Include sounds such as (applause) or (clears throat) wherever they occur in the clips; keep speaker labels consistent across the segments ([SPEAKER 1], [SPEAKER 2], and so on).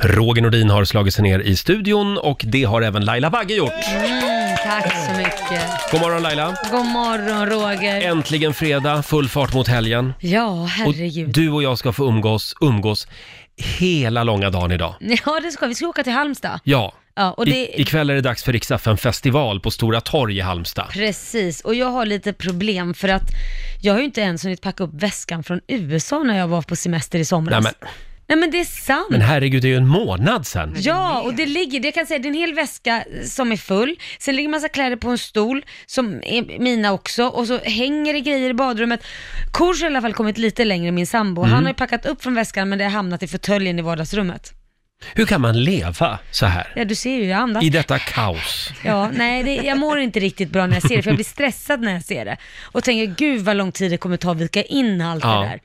[SPEAKER 1] Roger Nordin har slagit sig ner i studion och det har även Laila Bagge gjort.
[SPEAKER 2] Mm, tack så mycket.
[SPEAKER 1] God morgon Laila!
[SPEAKER 2] God morgon Roger.
[SPEAKER 1] Äntligen fredag, full fart mot helgen.
[SPEAKER 2] Ja,
[SPEAKER 1] Och
[SPEAKER 2] herregud.
[SPEAKER 1] du och jag ska få umgås, umgås hela långa dagen idag.
[SPEAKER 2] Ja, det ska vi. Vi ska åka till Halmstad.
[SPEAKER 1] Ja,
[SPEAKER 2] Ja, och
[SPEAKER 1] I,
[SPEAKER 2] det...
[SPEAKER 1] ikväll är det dags för riksdagen festival på Stora Torg i Halmstad.
[SPEAKER 2] Precis, och jag har lite problem för att jag har ju inte ens hunnit packa upp väskan från USA när jag var på semester i
[SPEAKER 1] Nej,
[SPEAKER 2] somras.
[SPEAKER 1] men,
[SPEAKER 2] Nej, men det är sant.
[SPEAKER 1] men herregud, det är ju en månad sen.
[SPEAKER 2] Ja, och det ligger, det kan säga, det är en hel väska som är full, sen ligger massa kläder på en stol, som är mina också, och så hänger det grejer i badrummet. Kors har i alla fall kommit lite längre, min sambo.
[SPEAKER 1] Mm.
[SPEAKER 2] Han har ju packat upp från väskan, men det har hamnat i fåtöljen i vardagsrummet.
[SPEAKER 1] Hur kan man leva så här?
[SPEAKER 2] Ja, du ser ju, jag andas.
[SPEAKER 1] I detta kaos.
[SPEAKER 2] Ja, nej, det, jag mår inte riktigt bra när jag ser det, för jag blir stressad när jag ser det. Och tänker, gud vad lång tid det kommer ta att vika in allt
[SPEAKER 1] Ja.
[SPEAKER 2] det där.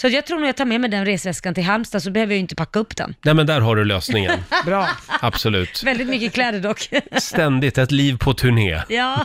[SPEAKER 2] Så jag tror nog jag tar med mig den resväskan till Halmstad, så behöver jag ju inte packa upp den.
[SPEAKER 1] Nej men där har du
[SPEAKER 2] (laughs)
[SPEAKER 1] lösningen,
[SPEAKER 3] Bra.
[SPEAKER 1] absolut.
[SPEAKER 2] Väldigt mycket
[SPEAKER 1] (laughs)
[SPEAKER 2] kläder dock.
[SPEAKER 1] Ständigt ett liv på turné.
[SPEAKER 2] ja.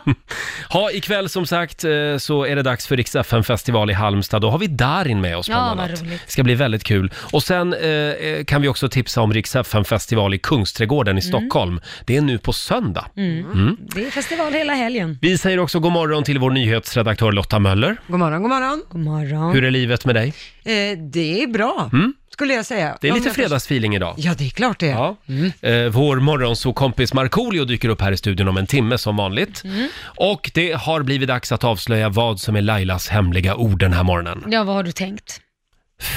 [SPEAKER 1] Ja, ikväll som sagt eh, så är det dags för Rix FM festival i Halmstad. Då har vi Darin med oss
[SPEAKER 2] Ja,
[SPEAKER 1] bland
[SPEAKER 2] vad
[SPEAKER 1] annat.
[SPEAKER 2] roligt.
[SPEAKER 1] Det ska bli väldigt kul. Och sen eh, kan vi också tipsa om Rix FM festival i
[SPEAKER 2] Mm.
[SPEAKER 1] Kungsträdgården i Stockholm. Det är nu på söndag.
[SPEAKER 2] Det är festival hela helgen.
[SPEAKER 1] Vi säger också god morgon till vår nyhetsredaktör Lotta
[SPEAKER 2] Mm.
[SPEAKER 1] Möller.
[SPEAKER 3] God morgon, god morgon.
[SPEAKER 2] God morgon.
[SPEAKER 1] Hur är livet med dig?
[SPEAKER 3] Eh, det är bra, skulle jag säga.
[SPEAKER 1] Mm. Det är
[SPEAKER 3] Om
[SPEAKER 1] lite
[SPEAKER 3] jag förstår-
[SPEAKER 1] fredagsfeeling idag.
[SPEAKER 3] Ja, det är klart det är.
[SPEAKER 1] Ja.
[SPEAKER 2] Mm.
[SPEAKER 1] Eh, vår morgonsåkompis Markoolio dyker upp här i studion om en timme som vanligt.
[SPEAKER 2] Mm.
[SPEAKER 1] Och det har blivit dags att avslöja vad som är Lailas hemliga ord den här morgonen.
[SPEAKER 2] Ja, vad har du tänkt?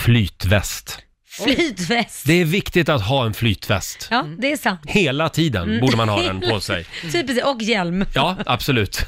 [SPEAKER 1] Flytväst.
[SPEAKER 2] Flytväst.
[SPEAKER 1] Det är viktigt att ha en flytväst.
[SPEAKER 2] Ja, det är sant.
[SPEAKER 1] Hela tiden borde man ha den (laughs) på sig.
[SPEAKER 2] Typiskt, och hjälm.
[SPEAKER 1] Ja, absolut.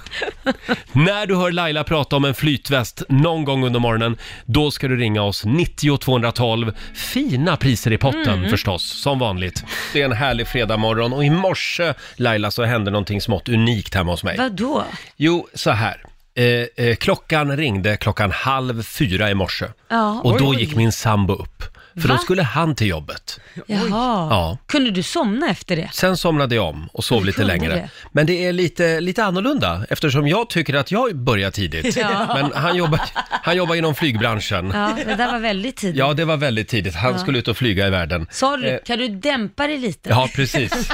[SPEAKER 1] När du hör Laila prata om en flytväst någon gång under morgonen, då ska du ringa oss 90 212. Fina priser i potten förstås, som vanligt. Mm. Det är en härlig fredagmorgon och i morse, Laila, så hände någonting smått unikt hemma hos mig.
[SPEAKER 2] Vadå?
[SPEAKER 1] Jo, så här. Eh, eh, klockan ringde klockan halv fyra i morse
[SPEAKER 2] Ja.
[SPEAKER 1] och då
[SPEAKER 2] Oj.
[SPEAKER 1] gick min sambo upp. För då
[SPEAKER 2] Va?
[SPEAKER 1] skulle han till jobbet.
[SPEAKER 2] Jaha.
[SPEAKER 1] Ja.
[SPEAKER 2] Kunde du somna efter det?
[SPEAKER 1] Sen somnade jag om och sov lite
[SPEAKER 2] kunde
[SPEAKER 1] längre.
[SPEAKER 2] det.
[SPEAKER 1] Men det är lite, lite annorlunda eftersom jag tycker att jag börjar tidigt.
[SPEAKER 2] (laughs) Ja.
[SPEAKER 1] Men han jobbar, han jobbar inom flygbranschen. Ja.
[SPEAKER 2] Ja, det där var väldigt tidigt.
[SPEAKER 1] det var väldigt tidigt. Han skulle ut och flyga i världen.
[SPEAKER 2] Sa
[SPEAKER 1] Eh.
[SPEAKER 2] du, kan du dämpa dig lite?
[SPEAKER 1] Ja,
[SPEAKER 2] (laughs)
[SPEAKER 1] precis.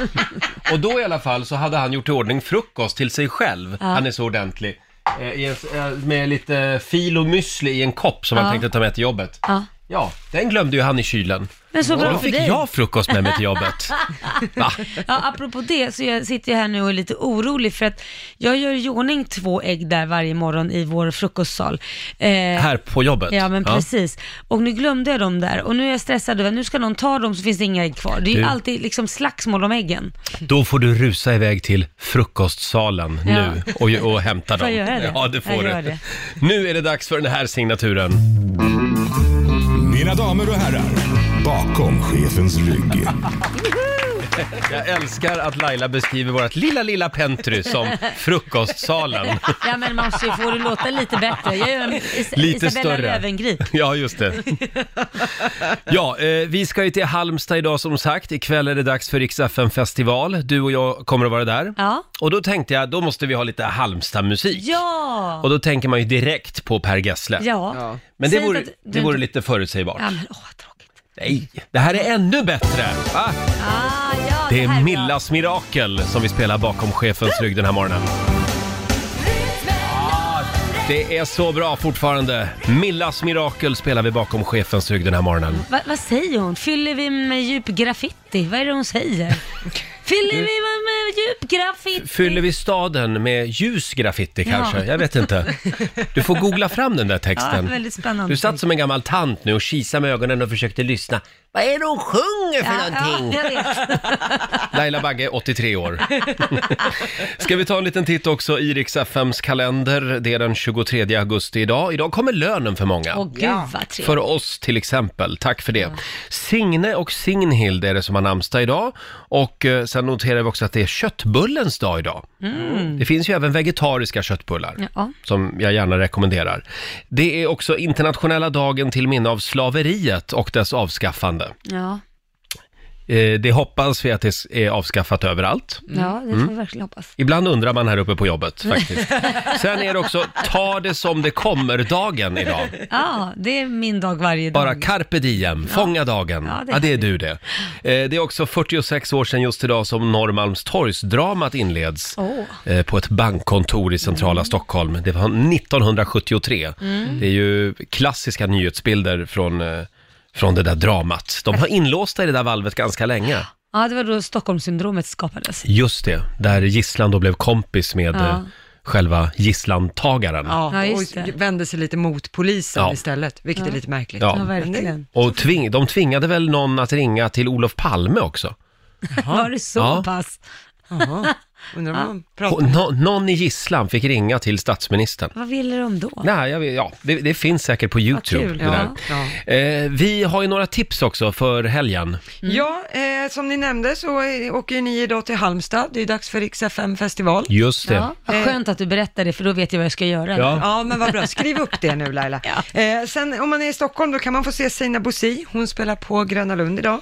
[SPEAKER 1] Och då i alla fall så hade han gjort i ordning frukost till sig själv. Han är så ordentlig. Eh, i en- eh, Med lite fil och müsli i en kopp som han tänkte ta med till jobbet.
[SPEAKER 2] Ja.
[SPEAKER 1] Ja, den glömde ju han i kylen.
[SPEAKER 2] Men så
[SPEAKER 1] Och
[SPEAKER 2] bra
[SPEAKER 1] då
[SPEAKER 2] för
[SPEAKER 1] fick
[SPEAKER 2] dig.
[SPEAKER 1] jag frukost med mig till
[SPEAKER 2] (laughs)
[SPEAKER 1] jobbet. Va?
[SPEAKER 2] Ja, apropå det så jag sitter jag här nu och är lite orolig för att jag gör i ordning två ägg där varje morgon i vår frukostsal. Eh,
[SPEAKER 1] Här på jobbet.
[SPEAKER 2] Ja men precis. Och nu glömde jag dem där och nu är jag stressad över, nu ska någon ta dem så finns det inga ägg kvar. Det är ju
[SPEAKER 1] Du.
[SPEAKER 2] alltid liksom slagsmål om äggen.
[SPEAKER 1] Då får du rusa iväg till frukostsalen
[SPEAKER 2] Ja.
[SPEAKER 1] nu och, och hämta
[SPEAKER 2] (laughs) Får
[SPEAKER 1] dem.
[SPEAKER 2] jag göra det?
[SPEAKER 1] Ja, det
[SPEAKER 2] Jag
[SPEAKER 1] får
[SPEAKER 2] gör
[SPEAKER 1] du.
[SPEAKER 2] det.
[SPEAKER 1] Nu är det dags för den här signaturen.
[SPEAKER 4] Mina damer och herrar, bakom chefens
[SPEAKER 5] (laughs)
[SPEAKER 4] rygg.
[SPEAKER 1] Jag älskar att Laila beskriver vårt lilla, lilla pentry
[SPEAKER 2] (laughs)
[SPEAKER 1] som frukostsalen.
[SPEAKER 2] Ja men man måste ju få det låta lite bättre. Jag gör
[SPEAKER 1] (laughs)
[SPEAKER 2] en Is-
[SPEAKER 1] Lite
[SPEAKER 2] Isabella
[SPEAKER 1] större.
[SPEAKER 2] Löwengrip.
[SPEAKER 1] Ja, just det. Ja, eh, vi ska ju till Halmstad idag som sagt. Ikväll är det dags för Rix FM festival. Du och jag kommer att vara där.
[SPEAKER 2] Ja.
[SPEAKER 1] Och då tänkte jag, då måste vi ha lite Halmstad-musik.
[SPEAKER 2] Ja!
[SPEAKER 1] Och då tänker man ju direkt på Per Gessle.
[SPEAKER 2] Ja.
[SPEAKER 1] Men det
[SPEAKER 2] Säg
[SPEAKER 1] vore,
[SPEAKER 2] inte att du
[SPEAKER 1] det vore
[SPEAKER 2] inte-
[SPEAKER 1] lite förutsägbart.
[SPEAKER 2] Ja men åh vad tråkigt.
[SPEAKER 1] Nej, det här är ännu bättre! Va?
[SPEAKER 2] Ah, ja,
[SPEAKER 1] Det
[SPEAKER 2] här
[SPEAKER 1] är
[SPEAKER 2] bra.
[SPEAKER 1] Millas Mirakel som vi spelar bakom chefens rygg den här morgonen. Ah, Det är så bra fortfarande. Millas Mirakel spelar vi bakom chefens rygg den här morgonen.
[SPEAKER 2] Va, vad säger hon? Fyller vi med djup graffiti? Vad är det hon säger? Fyller vi med, med djup graffiti?
[SPEAKER 1] Fyller vi staden med ljus graffiti kanske?
[SPEAKER 2] Ja.
[SPEAKER 1] Jag vet inte. Du får googla fram den där
[SPEAKER 2] Ja,
[SPEAKER 1] texten.
[SPEAKER 2] väldigt spännande.
[SPEAKER 1] Du satt som en gammal tant nu och kisade med ögonen och försökte lyssna. Vad är det hon sjunger för
[SPEAKER 2] ja,
[SPEAKER 1] någonting?
[SPEAKER 2] ja, jag vet.
[SPEAKER 1] Laila Bagge, 83 år. Ska vi ta en liten titt också i Rix FMs kalender. Det är den 23 augusti idag. Idag kommer lönen för många.
[SPEAKER 2] Åh gud vad trevligt.
[SPEAKER 1] för oss till exempel, tack för det. Signe och Signhild är det som har namnsdag idag. Och eh, sen noterar vi också att det är köttbullens dag idag. Det finns ju även vegetariska köttbullar.
[SPEAKER 2] Mm. Ja.
[SPEAKER 1] Som jag gärna rekommenderar. Det är också internationella dagen till minne av slaveriet och dess avskaffande.
[SPEAKER 2] Ja.
[SPEAKER 1] Eh, det hoppas vi att det är avskaffat överallt.
[SPEAKER 2] Ja, det
[SPEAKER 1] Mm.
[SPEAKER 2] får vi verkligen hoppas.
[SPEAKER 1] Ibland undrar man här uppe på jobbet
[SPEAKER 2] Mm.
[SPEAKER 1] faktiskt. Sen är det också ta det som det kommer-dagen idag.
[SPEAKER 2] Ja, det är min dag varje dag.
[SPEAKER 1] Bara carpe diem, fånga dagen. Ja,
[SPEAKER 2] Ja,
[SPEAKER 1] det,
[SPEAKER 2] det
[SPEAKER 1] är
[SPEAKER 2] är
[SPEAKER 1] du det. Eh, det är också 46 år sedan just idag som Norrmalmstorgsdramat inleds
[SPEAKER 2] Åh. Mm.
[SPEAKER 1] eh, på ett bankkontor i centrala Stockholm. Det var 1973. Det är ju klassiska nyhetsbilder från, eh, från det där dramat. De var inlåsta i det där valvet ganska länge.
[SPEAKER 2] Ja, det var då Stockholmssyndromet skapades.
[SPEAKER 1] Just det, där gisslan då blev kompis med
[SPEAKER 2] Ja.
[SPEAKER 1] eh, själva gisslantagaren.
[SPEAKER 3] Ja,
[SPEAKER 2] Ja,
[SPEAKER 3] och
[SPEAKER 2] just det.
[SPEAKER 3] vände sig lite mot polisen
[SPEAKER 1] Ja.
[SPEAKER 3] istället, vilket är lite märkligt.
[SPEAKER 1] Ja.
[SPEAKER 2] Ja, verkligen.
[SPEAKER 1] Och tving, de tvingade väl någon att ringa till Olof Palme också?
[SPEAKER 2] (laughs) Var det så
[SPEAKER 1] Ja.
[SPEAKER 2] pass?
[SPEAKER 3] Jaha. Undrar vad man pratar
[SPEAKER 1] Och
[SPEAKER 3] om.
[SPEAKER 1] nå- någon i gisslan fick ringa till statsministern.
[SPEAKER 2] Vad ville de då?
[SPEAKER 1] Nej, jag, vet- ja, det, det finns säkert på YouTube.
[SPEAKER 2] kul,
[SPEAKER 1] det där.
[SPEAKER 3] Ja. Ja.
[SPEAKER 1] Eh, vi har ju några tips också för helgen.
[SPEAKER 3] Ja, eh, som ni nämnde så eh, åker ju ni idag till Halmstad. Det är dags för Rix FM festival.
[SPEAKER 1] Just det.
[SPEAKER 2] Ja, vad skönt att du berättar det, för då vet jag vad jag ska göra.
[SPEAKER 1] Ja.
[SPEAKER 3] Ja, men vad bra. Skriv upp det nu Laila. eh, sen om man är i Stockholm då kan man få se Sina Bosi. Hon spelar på Gröna Lund idag.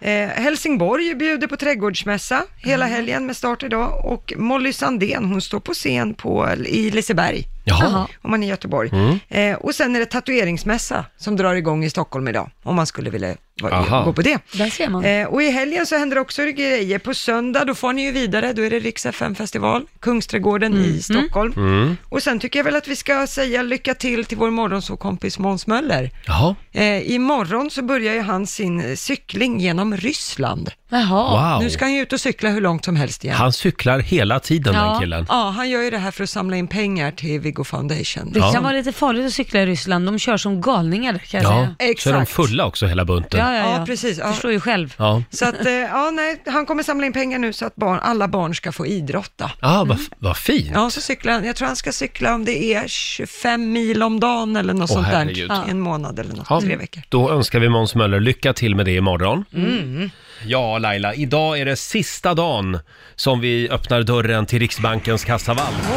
[SPEAKER 3] Eh, Helsingborg bjuder på trädgårdsmässa hela helgen med start idag. Och Molly Sandén, hon står på scen på, i Liseberg.
[SPEAKER 1] Jaha.
[SPEAKER 2] Jaha.
[SPEAKER 3] Om man är i Göteborg. Eh, och sen är det tatueringsmässa som drar igång i Stockholm idag. Om man skulle vilja
[SPEAKER 1] Aha.
[SPEAKER 3] va- gå på det.
[SPEAKER 2] Där ser man.
[SPEAKER 3] Eh, och i helgen så händer det också grejer. På söndag, då får ni ju vidare, då är det Rix FM-festival, Kungsträdgården i Stockholm. Och sen tycker jag väl att vi ska säga lycka till till vår morgonsåkompis Måns Möller.
[SPEAKER 1] Jaha.
[SPEAKER 3] Eh, imorgon så börjar ju han sin eh, cykling genom Ryssland.
[SPEAKER 2] Jaha.
[SPEAKER 1] Wow.
[SPEAKER 3] Nu ska han ju ut och cykla hur långt som helst igen.
[SPEAKER 1] Han cyklar hela tiden
[SPEAKER 2] Ja.
[SPEAKER 1] den killen.
[SPEAKER 3] Ja, han gör ju det här för att samla in pengar till Viggo Foundation.
[SPEAKER 2] Det kan vara lite farligt att cykla i Ryssland. De kör som galningar kan jag
[SPEAKER 1] Ja,
[SPEAKER 2] säga.
[SPEAKER 1] så är de
[SPEAKER 3] Exakt.
[SPEAKER 1] fulla också hela bunten.
[SPEAKER 2] Ja, ja, ja.
[SPEAKER 3] Ja, precis. Ja.
[SPEAKER 2] Förstår ju själv.
[SPEAKER 1] Ja.
[SPEAKER 3] Så att, eh, ja, nej, han kommer samla in pengar nu så att barn, alla barn ska få idrotta.
[SPEAKER 1] Ah,
[SPEAKER 2] Mm.
[SPEAKER 1] vad, vad fint.
[SPEAKER 3] Ja, så cyklar han. Jag tror han ska cykla om det är 25 mil om dagen eller något
[SPEAKER 1] Åh,
[SPEAKER 3] sånt där.
[SPEAKER 1] herregud.
[SPEAKER 3] En månad eller något,
[SPEAKER 1] Ja,
[SPEAKER 3] tre veckor.
[SPEAKER 1] Då önskar vi Måns Möller lycka till med det imorgon.
[SPEAKER 2] Mm.
[SPEAKER 1] Ja, Laila, idag är det sista dagen som vi öppnar dörren till Riksbankens kassavalv.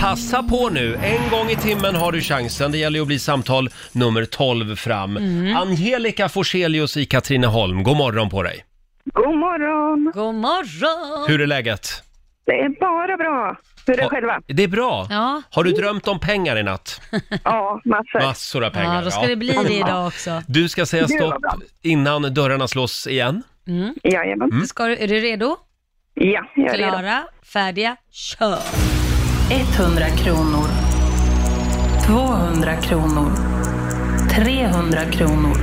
[SPEAKER 1] Passa på nu, en gång i timmen har du chansen. Det gäller ju att bli samtal nummer 12 fram.
[SPEAKER 2] Mm.
[SPEAKER 1] Angelica Forselius i Katrineholm, god morgon på dig.
[SPEAKER 6] God morgon!
[SPEAKER 2] God morgon!
[SPEAKER 1] Hur är läget?
[SPEAKER 6] Det är bara bra. Hur är det
[SPEAKER 1] Ha-
[SPEAKER 6] själva?
[SPEAKER 1] Det är bra.
[SPEAKER 2] Ja.
[SPEAKER 1] Har du drömt om pengar i natt?
[SPEAKER 6] Ja, massor.
[SPEAKER 1] Massor av pengar.
[SPEAKER 2] Ja, då ska det bli det idag också.
[SPEAKER 1] Du ska säga
[SPEAKER 6] Det var
[SPEAKER 1] stopp
[SPEAKER 6] bra.
[SPEAKER 1] innan dörrarna slås igen.
[SPEAKER 6] Jajamän.
[SPEAKER 1] Mm.
[SPEAKER 2] Det Ska, du- är du redo?
[SPEAKER 6] Ja, jag är redo.
[SPEAKER 2] Klara, färdiga, kör!
[SPEAKER 7] 100 kronor. 200 kronor. 300 kronor.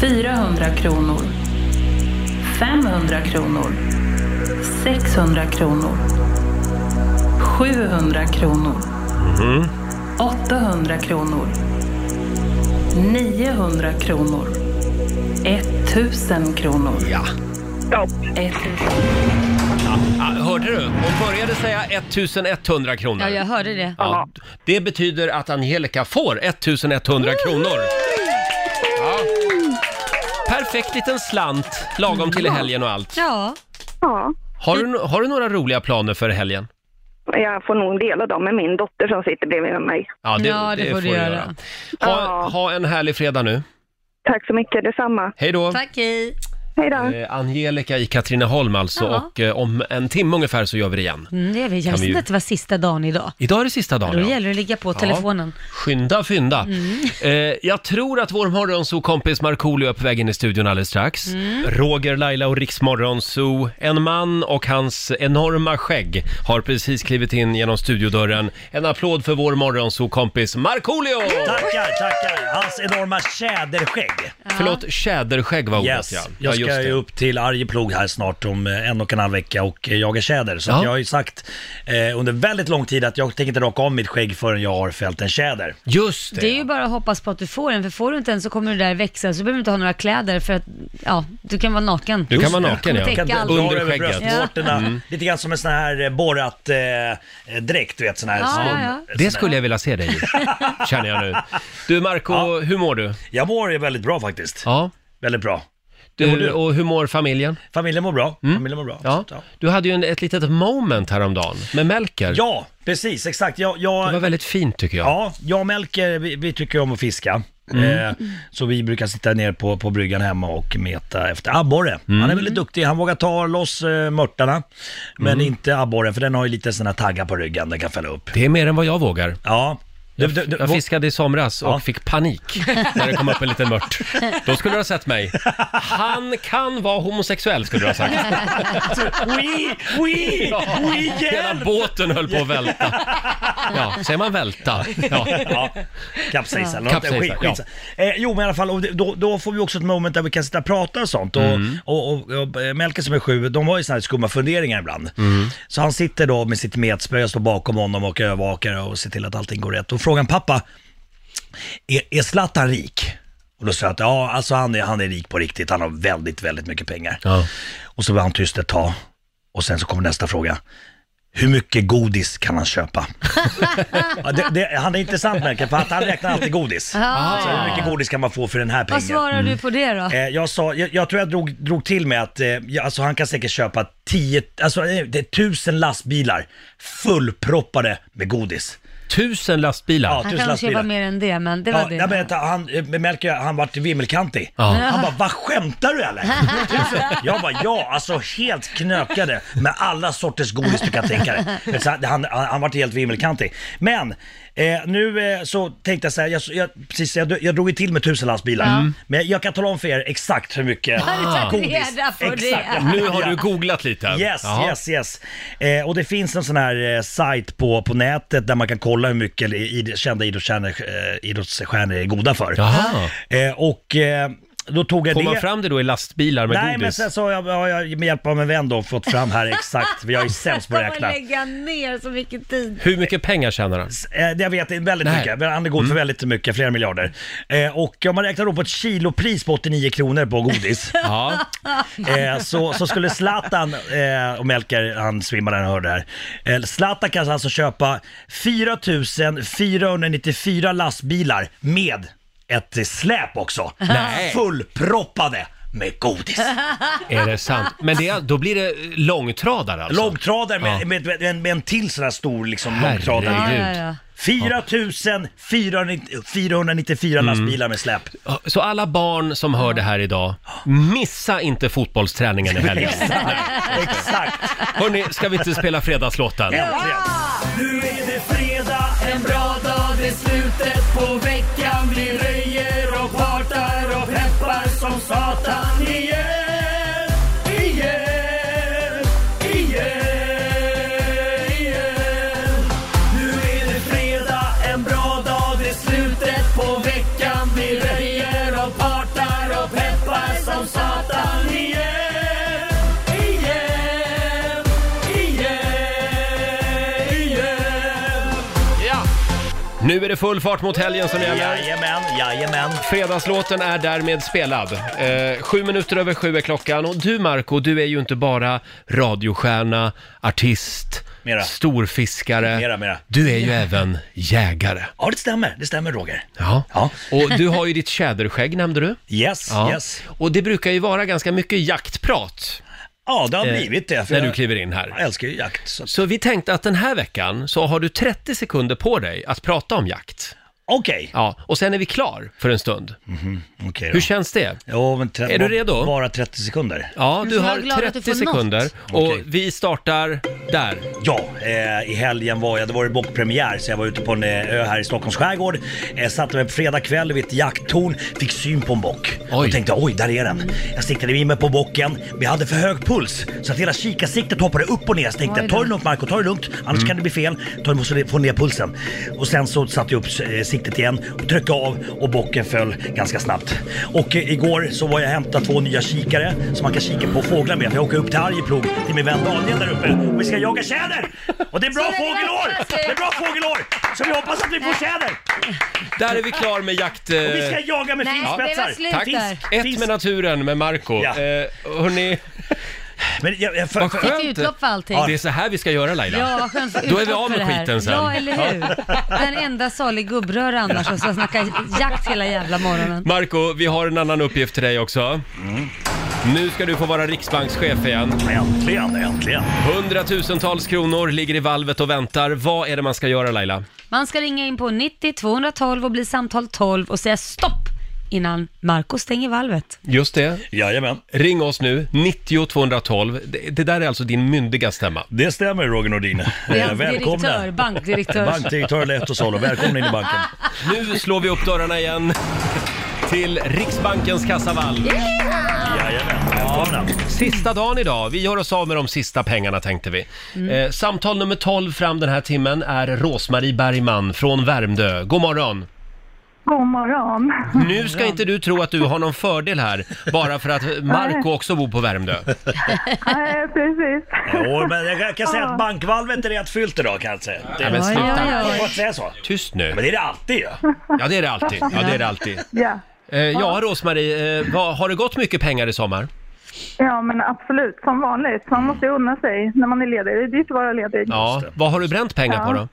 [SPEAKER 7] 400 kronor. 500 kronor. 600 kronor. 700 kronor. 800 kronor. 900 kronor. 1000 kronor.
[SPEAKER 1] Ja.
[SPEAKER 7] 1000.
[SPEAKER 1] Ah, hörde du? Hon började säga 1100 kronor.
[SPEAKER 2] Ja, jag hörde det.
[SPEAKER 1] Ja, det betyder att Angelica får 1100 kronor. Ja. Perfekt liten slant, lagom till helgen och allt.
[SPEAKER 2] Ja,
[SPEAKER 6] Ja.
[SPEAKER 1] Har du, no- har du några roliga planer för helgen?
[SPEAKER 6] Jag får nog dela dem med min dotter som sitter bredvid mig.
[SPEAKER 2] Ja, det får du göra.
[SPEAKER 1] Ha,
[SPEAKER 6] Ja.
[SPEAKER 1] ha en härlig fredag nu.
[SPEAKER 6] Tack så mycket, detsamma.
[SPEAKER 1] Hej då!
[SPEAKER 2] tack hej.
[SPEAKER 6] Hej då!
[SPEAKER 1] Eh, Angelica i Katrineholm alltså
[SPEAKER 2] Ja.
[SPEAKER 1] och eh, om en timme ungefär så gör vi det igen.
[SPEAKER 2] Mm, det är vi. Jag visste
[SPEAKER 1] vi ju-
[SPEAKER 2] inte att det var sista dagen idag.
[SPEAKER 1] Idag är det sista
[SPEAKER 2] Då
[SPEAKER 1] dagen. ja.
[SPEAKER 2] gäller det att ligga på telefonen.
[SPEAKER 1] Ja. Skynda, fynda. Eh, jag tror att vår morgonsokompis Markoolio är på väg in i studion alldeles strax. Roger, Laila och Riksmorgonso. En man och hans enorma skägg har precis klivit in genom studiodörren. En applåd för vår morgonsokompis Markoolio!
[SPEAKER 8] Tackar, tackar. Hans enorma tjäderskägg.
[SPEAKER 1] Förlåt, tjäderskägg var ordet
[SPEAKER 8] Yes.
[SPEAKER 1] Oh, ja. Ja,
[SPEAKER 8] Jag
[SPEAKER 1] just
[SPEAKER 8] ska
[SPEAKER 1] det.
[SPEAKER 8] ju upp till Arjeplog här snart om eh, en och en halv vecka och eh, jaga tjäder. Så
[SPEAKER 1] Ja.
[SPEAKER 8] att jag har ju sagt eh, under väldigt lång tid att jag tänker inte raka av mitt skägg förrän jag har fällt en tjäder.
[SPEAKER 1] Just det.
[SPEAKER 2] Det är ju bara att hoppas på att du får den, för får du inte den så kommer du där växa, så behöver du inte ha några kläder för att, ja, du kan vara naken.
[SPEAKER 1] Du kan vara naken
[SPEAKER 2] Kommer
[SPEAKER 1] ja. Mm.
[SPEAKER 2] täcka-
[SPEAKER 8] Kan dra
[SPEAKER 1] Under
[SPEAKER 8] över
[SPEAKER 1] skägget.
[SPEAKER 8] bröstvårtorna. Lite grann som en sån här eh, borrat eh, eh, dräkt, du vet sån här.
[SPEAKER 2] Ja,
[SPEAKER 8] sån-
[SPEAKER 2] ja, ja.
[SPEAKER 8] sån
[SPEAKER 1] Det
[SPEAKER 8] här-
[SPEAKER 1] skulle jag vilja se dig (laughs) i, känner jag nu. Du Marco, hur mår du?
[SPEAKER 8] Jag mår ju väldigt bra faktiskt.
[SPEAKER 1] Ja.
[SPEAKER 8] Väldigt bra. Hur mår
[SPEAKER 1] Du,
[SPEAKER 8] du?
[SPEAKER 1] och hur mår familjen?
[SPEAKER 8] Familjen mår bra. Familjen mår bra.
[SPEAKER 1] Mm. Ja.
[SPEAKER 8] Så, ja.
[SPEAKER 1] Du hade ju en, ett litet moment häromdagen med Melker.
[SPEAKER 8] Ja, precis, exakt. Jag, jag,
[SPEAKER 1] Det var väldigt fint tycker jag.
[SPEAKER 8] Ja, jag och Melker, vi, vi tycker om att fiska.
[SPEAKER 1] Mm.
[SPEAKER 8] Eh, så vi brukar sitta ner på, på bryggan hemma och meta efter abborre.
[SPEAKER 1] Mm.
[SPEAKER 8] Han är väldigt duktig, han vågar ta loss eh, mörtarna. Men
[SPEAKER 1] Mm.
[SPEAKER 8] inte abborren, för den har ju lite sådana taggar på ryggen den kan fälla upp.
[SPEAKER 1] Det är mer än vad jag vågar.
[SPEAKER 8] Ja. Du,
[SPEAKER 1] Jag,
[SPEAKER 8] du, du,
[SPEAKER 1] jag fiskade i somras och
[SPEAKER 8] Ja.
[SPEAKER 1] fick panik när det kom upp en liten mört. Då skulle du ha sett mig. Han kan vara homosexuell skulle du ha sagt.
[SPEAKER 8] oui,
[SPEAKER 1] (laughs)
[SPEAKER 8] oui, oui,
[SPEAKER 1] Hela
[SPEAKER 8] hjälp!
[SPEAKER 1] båten höll på att välta. Ja, säger man välta? Ja.
[SPEAKER 8] (laughs) Ja, kapsejsa eller något.
[SPEAKER 1] Kapsejsa,
[SPEAKER 8] Skit- skitsa. Eh, jo, men i alla fall, och det- då, då får vi också ett moment där vi kan sitta och prata och sånt. Och, och, och, och eh, Melker som är sju, de har ju såna här skumma funderingar ibland. Så han sitter då med sitt metspö, jag står bakom honom och övervakar och ser till att allting går rätt. Och frågar han, pappa, är, är Zlatan rik? Och då säger han att ja, alltså han är, han är rik på riktigt, han har väldigt, väldigt mycket pengar.
[SPEAKER 1] Ja.
[SPEAKER 8] Och så var han tyst ett tag. Och sen så kommer nästa fråga. Hur mycket godis kan han
[SPEAKER 2] (laughs)
[SPEAKER 8] köpa? ja, det, det, han är intressant Melker, för att han räknar alltid godis. Alltså, hur mycket godis kan man få för den här
[SPEAKER 2] Vad
[SPEAKER 8] pengen?
[SPEAKER 1] Mm.
[SPEAKER 2] svarar du på det då?
[SPEAKER 8] Eh, jag, sa, jag, jag tror jag drog, drog till med att eh, ja, alltså, han kan säkert köpa 10, alltså, eh, det är tusen lastbilar fullproppade med godis.
[SPEAKER 1] Tusen lastbilar.
[SPEAKER 8] Ja,
[SPEAKER 2] Han
[SPEAKER 8] tusen
[SPEAKER 2] kan nog köpa
[SPEAKER 8] lastbilar.
[SPEAKER 2] mer än det, men det var
[SPEAKER 8] Ja,
[SPEAKER 2] det.
[SPEAKER 8] jag vet, han, eh, Melker, han vart vimmelkantig.
[SPEAKER 1] Ja.
[SPEAKER 8] Han bara, vad skämtar du
[SPEAKER 2] (laughs)
[SPEAKER 8] eller? Tusen. jag bara, ja, alltså helt knökade med alla sorters godis du kan tänka dig. Men så Han, han, han vart helt vimmelkantig. Men eh, nu eh, så tänkte jag så här, jag, jag, precis, jag, jag drog ju till med tusen lastbilar. Men jag kan tala om för er exakt hur mycket
[SPEAKER 2] Har du tagit
[SPEAKER 8] godis.
[SPEAKER 2] reda på det?
[SPEAKER 1] Nu har du googlat lite.
[SPEAKER 8] Yes,
[SPEAKER 1] Jaha.
[SPEAKER 8] yes, yes. Eh, och det finns en sån här eh, sajt på, på nätet där man kan kolla hur mycket i, i, kända idrottsstjärnor, eh, idrottsstjärnor är goda för.
[SPEAKER 1] Jaha.
[SPEAKER 8] Eh, och eh, då tog jag
[SPEAKER 1] Får
[SPEAKER 8] det.
[SPEAKER 1] man fram det då i lastbilar med
[SPEAKER 8] Nej, men
[SPEAKER 1] godis?
[SPEAKER 8] sen så har jag, har jag med hjälp av en vän då fått
[SPEAKER 1] (laughs)
[SPEAKER 8] fram här exakt, för jag är sämst på att
[SPEAKER 2] Kommer
[SPEAKER 8] räkna.
[SPEAKER 2] lägga ner så mycket tid.
[SPEAKER 1] Hur mycket pengar tjänar han?
[SPEAKER 8] Eh, det jag vet är väldigt
[SPEAKER 1] Nej. Mm.
[SPEAKER 8] mycket, han är god för väldigt mycket, flera miljarder. Eh, och om man räknar då på ett kilopris på 89 kronor
[SPEAKER 1] (laughs)
[SPEAKER 8] på godis,
[SPEAKER 1] Ja.
[SPEAKER 8] eh, så, så skulle Zlatan, eh, och Melker han svimmade när han hörde det här, eh, Zlatan kan alltså köpa 4 494 lastbilar med ett eh, släp också.
[SPEAKER 1] Nej. Alltså.
[SPEAKER 8] Fullproppade
[SPEAKER 1] (laughs)
[SPEAKER 8] med godis.
[SPEAKER 1] Är det sant? Men det, då blir det eh, långtradare alltså?
[SPEAKER 8] Långtradare med,
[SPEAKER 1] Ja.
[SPEAKER 8] med, med, med, med en till sån här stor liksom,
[SPEAKER 2] Ja,
[SPEAKER 8] långtradare.
[SPEAKER 1] Herregud.
[SPEAKER 2] ja, ja.
[SPEAKER 8] 4
[SPEAKER 1] Mm.
[SPEAKER 8] 494 lastbilar med släp.
[SPEAKER 1] Så alla barn som hör det här idag, missa inte fotbollsträningen i
[SPEAKER 8] (laughs)
[SPEAKER 1] helgen.
[SPEAKER 8] Exakt!
[SPEAKER 1] Hörni, ska vi inte spela fredagslåten?
[SPEAKER 8] Äntligen! Nu är det fredag, en bra dag, det är slutet på veckan. Vi röjer och partar och peppar som satan igen, igen, igen, igen. Nu är det fredag, en bra dag, det är slutet på veckan. Vi röjer och partar och peppar som satan igen, igen, igen, igen.
[SPEAKER 1] Nu är det full fart mot helgen som gäller.
[SPEAKER 8] Jajamän, jajamän.
[SPEAKER 1] Fredagslåten är därmed spelad. Eh, sju minuter över sju är klockan och du Marco, du är ju inte bara radiostjärna, artist,
[SPEAKER 8] Mera.
[SPEAKER 1] storfiskare.
[SPEAKER 8] Mera, mera.
[SPEAKER 1] Du är ju även jägare.
[SPEAKER 8] Ja, det stämmer. Det stämmer, Roger.
[SPEAKER 1] Ja.
[SPEAKER 8] Ja.
[SPEAKER 1] Och du har ju ditt tjäderskägg nämnde du.
[SPEAKER 8] Yes,
[SPEAKER 1] Ja.
[SPEAKER 8] yes.
[SPEAKER 1] Och det brukar ju vara ganska mycket jaktprat
[SPEAKER 8] Ja, det har
[SPEAKER 1] eh,
[SPEAKER 8] blivit det. för
[SPEAKER 1] när du
[SPEAKER 8] jag-
[SPEAKER 1] kliver in här.
[SPEAKER 8] Jag älskar ju jakt. så-
[SPEAKER 1] Så vi tänkte att den här veckan så har du 30 sekunder på dig att prata om jakt.
[SPEAKER 8] Okej.
[SPEAKER 1] Ja, och sen är vi klar för en stund.
[SPEAKER 8] Okej
[SPEAKER 1] Hur
[SPEAKER 8] då.
[SPEAKER 1] känns det?
[SPEAKER 8] Jo, men tre-
[SPEAKER 1] Är du redo?
[SPEAKER 8] Bara 30 sekunder.
[SPEAKER 1] Ja,
[SPEAKER 2] Men
[SPEAKER 1] du
[SPEAKER 2] så var
[SPEAKER 1] har
[SPEAKER 2] glad att du
[SPEAKER 1] 30
[SPEAKER 2] får något.
[SPEAKER 1] sekunder och
[SPEAKER 8] Okej.
[SPEAKER 1] vi startar där.
[SPEAKER 8] Ja, eh, i helgen var jag, det var ju bockpremiär, så jag var ute på en eh, ö här i Stockholms skärgård. Eh, satte mig på fredag kväll vid ett jakttorn, fick syn på en bock.
[SPEAKER 1] Oj.
[SPEAKER 8] Och tänkte oj, där är den. Jag siktade in mig på bocken, men jag hade för hög puls. Så att hela kikarsiktet hoppade upp och ner. Så tänkte jag, ta det lugnt Marco, ta det lugnt. Annars
[SPEAKER 1] Mm.
[SPEAKER 8] kan det bli fel. Ta, måste få ner pulsen. Och sen så satte jag upp eh, siktet igen och tryckte av och bocken föll ganska snabbt. Och eh, igår så var jag och hämtade två nya kikare som man kan kika på fåglar med. För jag åker upp till Arjeplog till min vän Daniel där uppe och vi ska jaga tjäder! Och det är bra
[SPEAKER 2] Så det är
[SPEAKER 8] fågelår!
[SPEAKER 2] bra.
[SPEAKER 8] Det är bra fågelår! Så vi hoppas att vi får tjäder!
[SPEAKER 1] Där är vi klar med jakt...
[SPEAKER 8] Och vi
[SPEAKER 1] Eh,
[SPEAKER 8] ska jaga med
[SPEAKER 2] Nej, det var slut
[SPEAKER 8] finspetsar!
[SPEAKER 1] tack.
[SPEAKER 2] där.
[SPEAKER 1] Ett
[SPEAKER 8] Finns-
[SPEAKER 1] med naturen med Marco.
[SPEAKER 8] Ja.
[SPEAKER 1] Eh, hörni,
[SPEAKER 8] Men jag, jag, för,
[SPEAKER 1] vad
[SPEAKER 8] för,
[SPEAKER 1] skönt.
[SPEAKER 2] Fick utlopp för allting.
[SPEAKER 1] Det är så här vi ska göra Laila.
[SPEAKER 2] Ja, vad skönt att få
[SPEAKER 1] Då är vi
[SPEAKER 2] utlopp
[SPEAKER 1] av med
[SPEAKER 2] för det här.
[SPEAKER 1] skiten sen.
[SPEAKER 2] Ja, eller hur? Den enda salig gubbröra annars som ska snacka jakt hela jävla morgonen.
[SPEAKER 1] Marco, vi har en annan uppgift till dig också.
[SPEAKER 8] Mm.
[SPEAKER 1] Nu ska du få vara riksbankschef igen.
[SPEAKER 8] Äntligen, äntligen!
[SPEAKER 1] Hundratusentals kronor ligger i valvet och väntar. Vad är det man ska göra Laila?
[SPEAKER 2] Man ska ringa in på 90 212 och bli samtal 12 och säga stopp innan Marco stänger valvet.
[SPEAKER 1] Just det.
[SPEAKER 8] Jajamän.
[SPEAKER 1] Ring oss nu, 90 212. Det, det där är alltså din myndiga stämma.
[SPEAKER 8] Det stämmer Roger Nordin. Eh,
[SPEAKER 2] Direktör,
[SPEAKER 8] Välkomna.
[SPEAKER 2] bankdirektör.
[SPEAKER 8] Bankdirektör Lehto Salo, välkommen in i banken.
[SPEAKER 1] Nu slår vi upp dörrarna igen till Riksbankens kassavalv.
[SPEAKER 8] Jajamän, välkomna.
[SPEAKER 1] Sista dagen idag. Vi gör oss av med de sista pengarna tänkte vi. Eh, samtal nummer 12 fram den här timmen är Rosmarie Bergman från Värmdö. God morgon!
[SPEAKER 9] God morgon.
[SPEAKER 1] Nu ska inte du tro att du har någon fördel här, bara för att Marco också bor på Värmdö.
[SPEAKER 9] Nej, precis.
[SPEAKER 8] Jo, men jag kan- kan säga att bankvalvet är rätt fyllt idag kan jag säga. Det
[SPEAKER 1] Ja,
[SPEAKER 8] är
[SPEAKER 1] men
[SPEAKER 2] Oj,
[SPEAKER 1] sluta.
[SPEAKER 2] oj,
[SPEAKER 8] Får jag
[SPEAKER 2] oj.
[SPEAKER 8] inte säga så?
[SPEAKER 1] Tyst
[SPEAKER 8] Men
[SPEAKER 1] nu.
[SPEAKER 8] det är det alltid ju.
[SPEAKER 1] Ja, det är det alltid. Ja, det är det
[SPEAKER 8] (laughs)
[SPEAKER 1] alltid.
[SPEAKER 9] Ja.
[SPEAKER 1] Eh, ja, Rosmarie, eh, vad- har det gått mycket pengar i sommar?
[SPEAKER 9] ja, men absolut. Som vanligt. Man måste ju unna sig när man är ledig. Det är dyrt att vara ledig.
[SPEAKER 1] Mm. Ja, vad har du bränt pengar på då?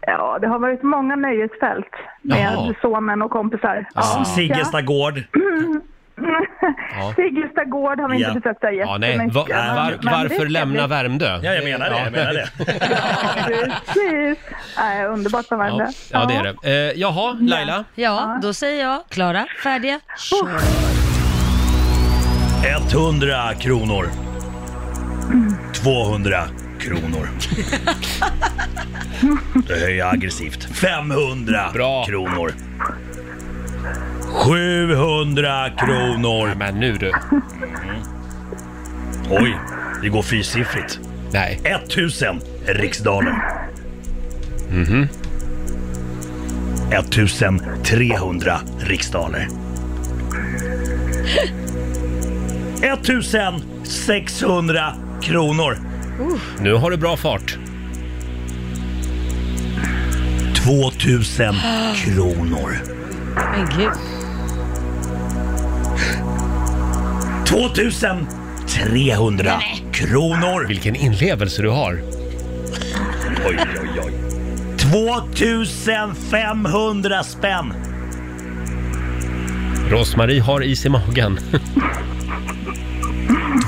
[SPEAKER 9] Ja, det har varit många nöjesfält med
[SPEAKER 1] Jaha.
[SPEAKER 9] sonen och kompisar.
[SPEAKER 8] Som Sigelsta gård.
[SPEAKER 1] Ja.
[SPEAKER 9] Sigelsta gård har vi
[SPEAKER 8] Ja.
[SPEAKER 9] inte försökt säga
[SPEAKER 1] Ja, nej. Va, var, varför lämna Värmdö?
[SPEAKER 8] Ja, jag menar det. Jag menar det.
[SPEAKER 9] Precis. Nej, underbart med
[SPEAKER 1] Ja,
[SPEAKER 9] Värmdö.
[SPEAKER 1] ja, det är det. Eh, jaha, Laila?
[SPEAKER 2] Ja, då säger jag klara, färdiga.
[SPEAKER 8] 100 kronor. 200 kronor. Det höjer jag aggressivt. 500
[SPEAKER 1] Bra.
[SPEAKER 8] kronor. 700
[SPEAKER 1] Nej,
[SPEAKER 8] kronor.
[SPEAKER 1] men nu du.
[SPEAKER 8] Oj, det går fyrsiffrigt.
[SPEAKER 1] Nej.
[SPEAKER 8] 1000 riksdaler. Mm-hmm. Mhm. 1300 riksdaler. 1600 kronor.
[SPEAKER 1] Nu har du bra fart.
[SPEAKER 8] 2000 kronor.
[SPEAKER 2] Men gud.
[SPEAKER 8] 2300 kronor.
[SPEAKER 1] Vilken inlevelse du har.
[SPEAKER 8] Oj, oj, oj. 2500 spänn.
[SPEAKER 1] Rosmarie har is i magen.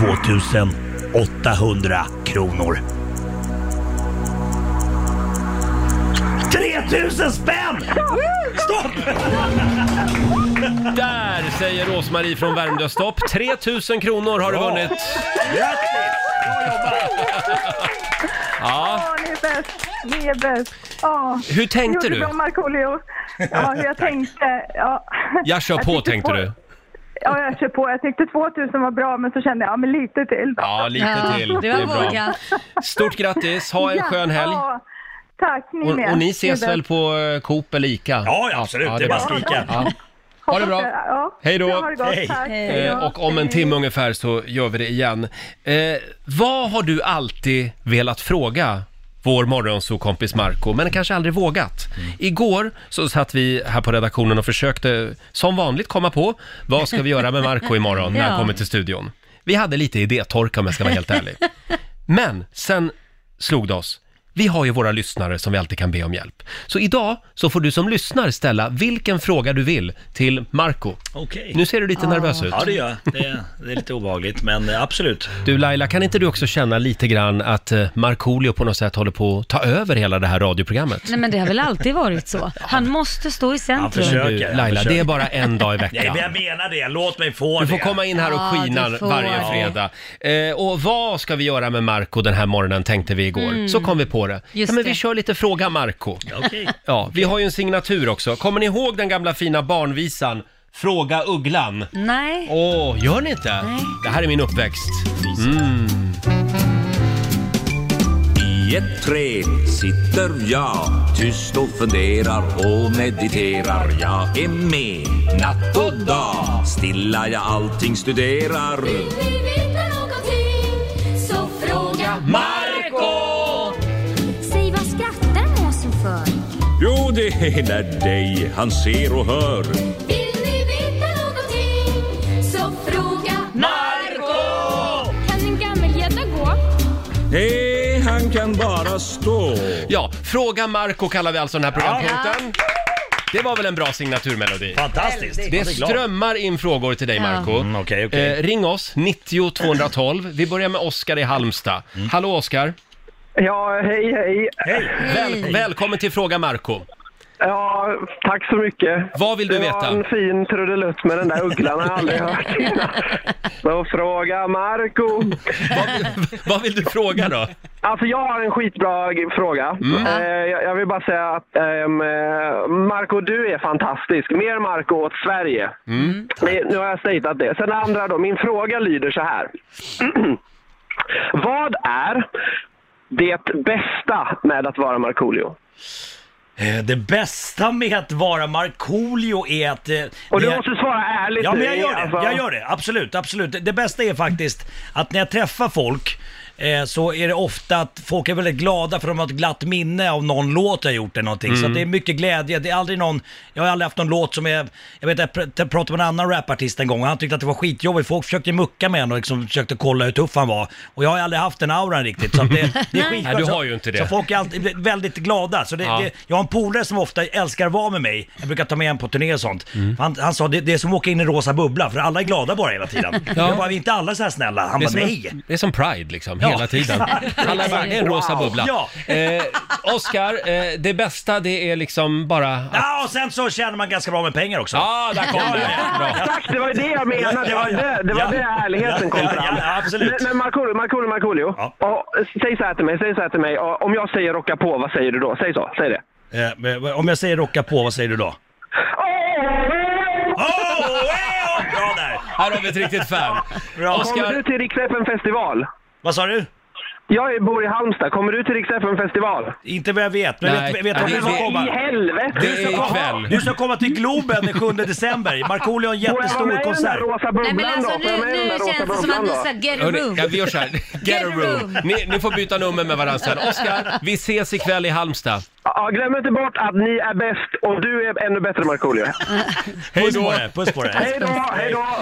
[SPEAKER 1] (laughs)
[SPEAKER 8] 2800 kronor. 3000 spänn! Stopp!
[SPEAKER 1] Där säger Rosmarie från Värmdö stopp. 3000 kronor har du vunnit.
[SPEAKER 8] Grattis! Bra jobbat!
[SPEAKER 9] Ja, ni är bäst. Ni är bäst. Ja.
[SPEAKER 1] Hur tänkte
[SPEAKER 9] Gjorde
[SPEAKER 1] du?
[SPEAKER 9] bra, Markoolio.
[SPEAKER 1] (laughs)
[SPEAKER 9] Ja, jag tänkte... Ja.
[SPEAKER 1] Jag kör på
[SPEAKER 9] tyckte
[SPEAKER 1] tänkte
[SPEAKER 9] två-
[SPEAKER 1] du.
[SPEAKER 9] Ja, jag kör på. Jag tyckte 2000 var bra, men så kände jag, ja, men lite till då.
[SPEAKER 1] Ja, lite
[SPEAKER 2] Ja,
[SPEAKER 1] till.
[SPEAKER 2] det var vågat.
[SPEAKER 1] Stort grattis, ha en skön helg.
[SPEAKER 9] Ja, tack, ni med.
[SPEAKER 1] Och, och ni ses
[SPEAKER 9] är
[SPEAKER 1] väl
[SPEAKER 9] bäst.
[SPEAKER 1] på eh, Coop eller Ica?
[SPEAKER 8] Ja, absolut. det är bara att skrika.
[SPEAKER 1] Ja. Ha det bra.
[SPEAKER 9] Ja.
[SPEAKER 1] Hej då.
[SPEAKER 9] Ha det gott.
[SPEAKER 8] Hej.
[SPEAKER 9] Tack.
[SPEAKER 2] Hej.
[SPEAKER 1] Eh, Och om en timme ungefär så gör vi det igen. Eh, vad har du alltid velat fråga vår morgonsokompis Marco, men kanske aldrig vågat? Igår så satt vi här på redaktionen och försökte som vanligt komma på vad ska vi göra med Marco imorgon när
[SPEAKER 2] Ja.
[SPEAKER 1] han kommer till studion. Vi hade lite idétorka om jag ska vara helt ärlig. Men sen slog det oss. Vi har ju våra lyssnare som vi alltid kan be om hjälp. Så idag så får du som lyssnar ställa vilken fråga du vill till Marco.
[SPEAKER 8] Okej.
[SPEAKER 1] Nu ser du lite nervös ut.
[SPEAKER 8] Ja, det gör jag. Det är, det är lite obehagligt, men eh, absolut.
[SPEAKER 1] Du Laila, kan inte du också känna lite grann att eh, Markoolio på något sätt håller på att ta över hela det här radioprogrammet?
[SPEAKER 2] Nej men det har väl alltid varit så. Han måste stå i
[SPEAKER 8] Han
[SPEAKER 2] centrum.
[SPEAKER 8] försöker.
[SPEAKER 1] Du,
[SPEAKER 8] han
[SPEAKER 1] Laila,
[SPEAKER 8] försöker.
[SPEAKER 1] det är bara en dag i
[SPEAKER 8] (laughs) Nej,
[SPEAKER 1] veckan.
[SPEAKER 8] men jag menar det. Låt mig få
[SPEAKER 1] Du får
[SPEAKER 8] det.
[SPEAKER 1] komma in här och
[SPEAKER 2] Ja,
[SPEAKER 1] skina
[SPEAKER 2] du får.
[SPEAKER 1] varje fredag. Eh, och vad ska vi göra med Marco den här morgonen tänkte vi igår. Så kom vi på det.
[SPEAKER 2] Mm. Just
[SPEAKER 1] ja, men vi
[SPEAKER 2] det.
[SPEAKER 1] kör lite fråga Marco.
[SPEAKER 8] Okej.
[SPEAKER 1] Ja, vi har ju en signatur också. Kommer ni ihåg den gamla fina barnvisan Fråga Ugglan?
[SPEAKER 2] Nej.
[SPEAKER 1] Åh, gör ni inte? Det här är min uppväxt.
[SPEAKER 10] I ett träd sitter jag tyst och funderar och mediterar. Jag är med natt och dag, stilla jag allting studerar.
[SPEAKER 11] Vill ni veta någonting så fråga
[SPEAKER 1] Marco!
[SPEAKER 11] Säg vad skrattar måsen för?
[SPEAKER 10] Jo, det är när dig han ser och hör.
[SPEAKER 11] Vill ni veta någonting så fråga Marco Kan en gammelgädda gå?
[SPEAKER 10] Nej, han kan bara stå.
[SPEAKER 1] Ja, Fråga Marco kallar vi alltså den här programpunkten. Det var väl en bra signaturmelodi?
[SPEAKER 8] Fantastiskt.
[SPEAKER 1] Det
[SPEAKER 8] Jag är glad.
[SPEAKER 1] strömmar in frågor till dig Marco.
[SPEAKER 8] Mm, okej, okej.
[SPEAKER 1] Eh, ring oss, 90 212. Vi börjar med Oskar i Halmstad.
[SPEAKER 8] Mm.
[SPEAKER 1] Hallå Oskar!
[SPEAKER 6] Ja, hej hej.
[SPEAKER 8] Hej.
[SPEAKER 1] Väl- välkommen till Fråga Marco.
[SPEAKER 12] Ja, tack så mycket.
[SPEAKER 1] Vad vill du
[SPEAKER 12] Det
[SPEAKER 1] veta?
[SPEAKER 12] var en fin trudelutt med den där ugglan, jag har aldrig
[SPEAKER 1] (laughs)
[SPEAKER 12] hört innan. Så fråga Marco.
[SPEAKER 1] Vad vill (laughs) du fråga då?
[SPEAKER 12] Alltså jag har en skitbra g- fråga.
[SPEAKER 1] Mm.
[SPEAKER 12] Eh, jag, jag vill bara säga att ehm, eh, Marco, du är fantastisk. Mer Marco åt Sverige.
[SPEAKER 8] Mm.
[SPEAKER 12] Det, nu har jag statat det. Sen det andra då, min fråga lyder så här. (clears throat) Vad är det bästa med att vara Markoolio?
[SPEAKER 8] Eh, Det bästa med att vara Markoolio är att... eh,
[SPEAKER 12] Och du
[SPEAKER 8] det är-
[SPEAKER 12] måste svara ärligt
[SPEAKER 8] Ja,
[SPEAKER 12] nu,
[SPEAKER 8] men jag gör det.
[SPEAKER 12] alltså.
[SPEAKER 8] Jag gör det. Absolut, absolut. Det- Det bästa är faktiskt att när jag träffar folk eh, så är det ofta att folk är väldigt glada för de har ett glatt minne av någon låt jag gjort eller någonting. Så
[SPEAKER 13] Mm.
[SPEAKER 8] att det är mycket glädje. Det är aldrig någon, jag har aldrig haft någon låt som är, jag vet jag pr- pratade med en annan rapartist en gång och han tyckte att det var skitjobbigt. Folk försökte mucka med honom och liksom försökte kolla hur tuff han var. Och jag har aldrig haft den auran riktigt. Så att det, det är
[SPEAKER 1] (laughs) Nej,
[SPEAKER 8] skitskönt.
[SPEAKER 1] du
[SPEAKER 8] Så-
[SPEAKER 1] har ju inte det.
[SPEAKER 8] Så folk är alltid väldigt glada. Så det,
[SPEAKER 1] Ja.
[SPEAKER 8] det, jag har en polare som ofta älskar att vara med mig. Jag brukar ta med honom på turné och sånt. Han, han sa det, det är som att åka in i en rosa bubbla för alla är glada bara hela tiden.
[SPEAKER 1] Ja.
[SPEAKER 8] Jag bara, vi är inte alla så här snälla? Han
[SPEAKER 1] det, är
[SPEAKER 8] bara,
[SPEAKER 1] som
[SPEAKER 8] nej.
[SPEAKER 1] en, det är som Pride liksom,
[SPEAKER 8] (laughs) Ja.
[SPEAKER 1] hela tiden. Alla bara, det är en rosa
[SPEAKER 8] Wow.
[SPEAKER 1] bubbla.
[SPEAKER 8] Ja.
[SPEAKER 1] Eh, Oscar, eh, det bästa det är liksom bara... att-
[SPEAKER 8] Ja, och sen så tjänar man ganska bra med pengar också.
[SPEAKER 1] Ja, där kom det.
[SPEAKER 12] Exakt, det var ju det jag menade. Det var, det, det, var
[SPEAKER 8] Ja.
[SPEAKER 12] det ärligheten kom
[SPEAKER 8] Ja,
[SPEAKER 12] fram.
[SPEAKER 8] ja, ja, absolut.
[SPEAKER 12] Men- Men Markoolio, Markoolio, Markoolio. Och, Säg så här till mig, säg så här till mig. Och, Om jag säger rocka på, vad säger du då? Säg så, säg det.
[SPEAKER 8] Eh, men Om jag säger rocka på, vad säger du då? Oh, Bra där!
[SPEAKER 1] Här har vi ett riktigt fan.
[SPEAKER 8] Bra.
[SPEAKER 12] Kommer du till Rix FM festival?
[SPEAKER 8] Vad sa du?
[SPEAKER 12] Jag bor i Halmstad. Kommer du till Rix FM festival?
[SPEAKER 8] Inte vad jag vet, men
[SPEAKER 12] Nej.
[SPEAKER 8] vet, vet
[SPEAKER 12] Ja, det-
[SPEAKER 8] du vem som
[SPEAKER 12] det-
[SPEAKER 8] kommer?
[SPEAKER 12] i helvete.
[SPEAKER 8] Du ska
[SPEAKER 12] Det är
[SPEAKER 8] komma-
[SPEAKER 12] ikväll.
[SPEAKER 8] Du ska komma till Globen den 7 december. Markoolio har en
[SPEAKER 12] Får jag vara med i
[SPEAKER 8] jättestor
[SPEAKER 12] den
[SPEAKER 8] konsert.
[SPEAKER 12] där rosa bubblan
[SPEAKER 2] Nej, men alltså,
[SPEAKER 12] då? Får jag
[SPEAKER 2] nu-
[SPEAKER 12] med i den
[SPEAKER 2] nu
[SPEAKER 12] där rosa
[SPEAKER 2] känns det som
[SPEAKER 12] bubblan
[SPEAKER 2] att ni
[SPEAKER 12] då?
[SPEAKER 2] sa get a
[SPEAKER 1] Hörrni,
[SPEAKER 2] room.
[SPEAKER 1] ja, vi gör så här. (laughs) Get, a room. Ni, ni får byta nummer med varandra (laughs) sen. Oscar, vi ses ikväll i Halmstad.
[SPEAKER 12] Ja, glöm inte bort att ni är bäst och du är ännu bättre Markoolio.
[SPEAKER 8] Hej då! Puss på dig!
[SPEAKER 12] Hej då,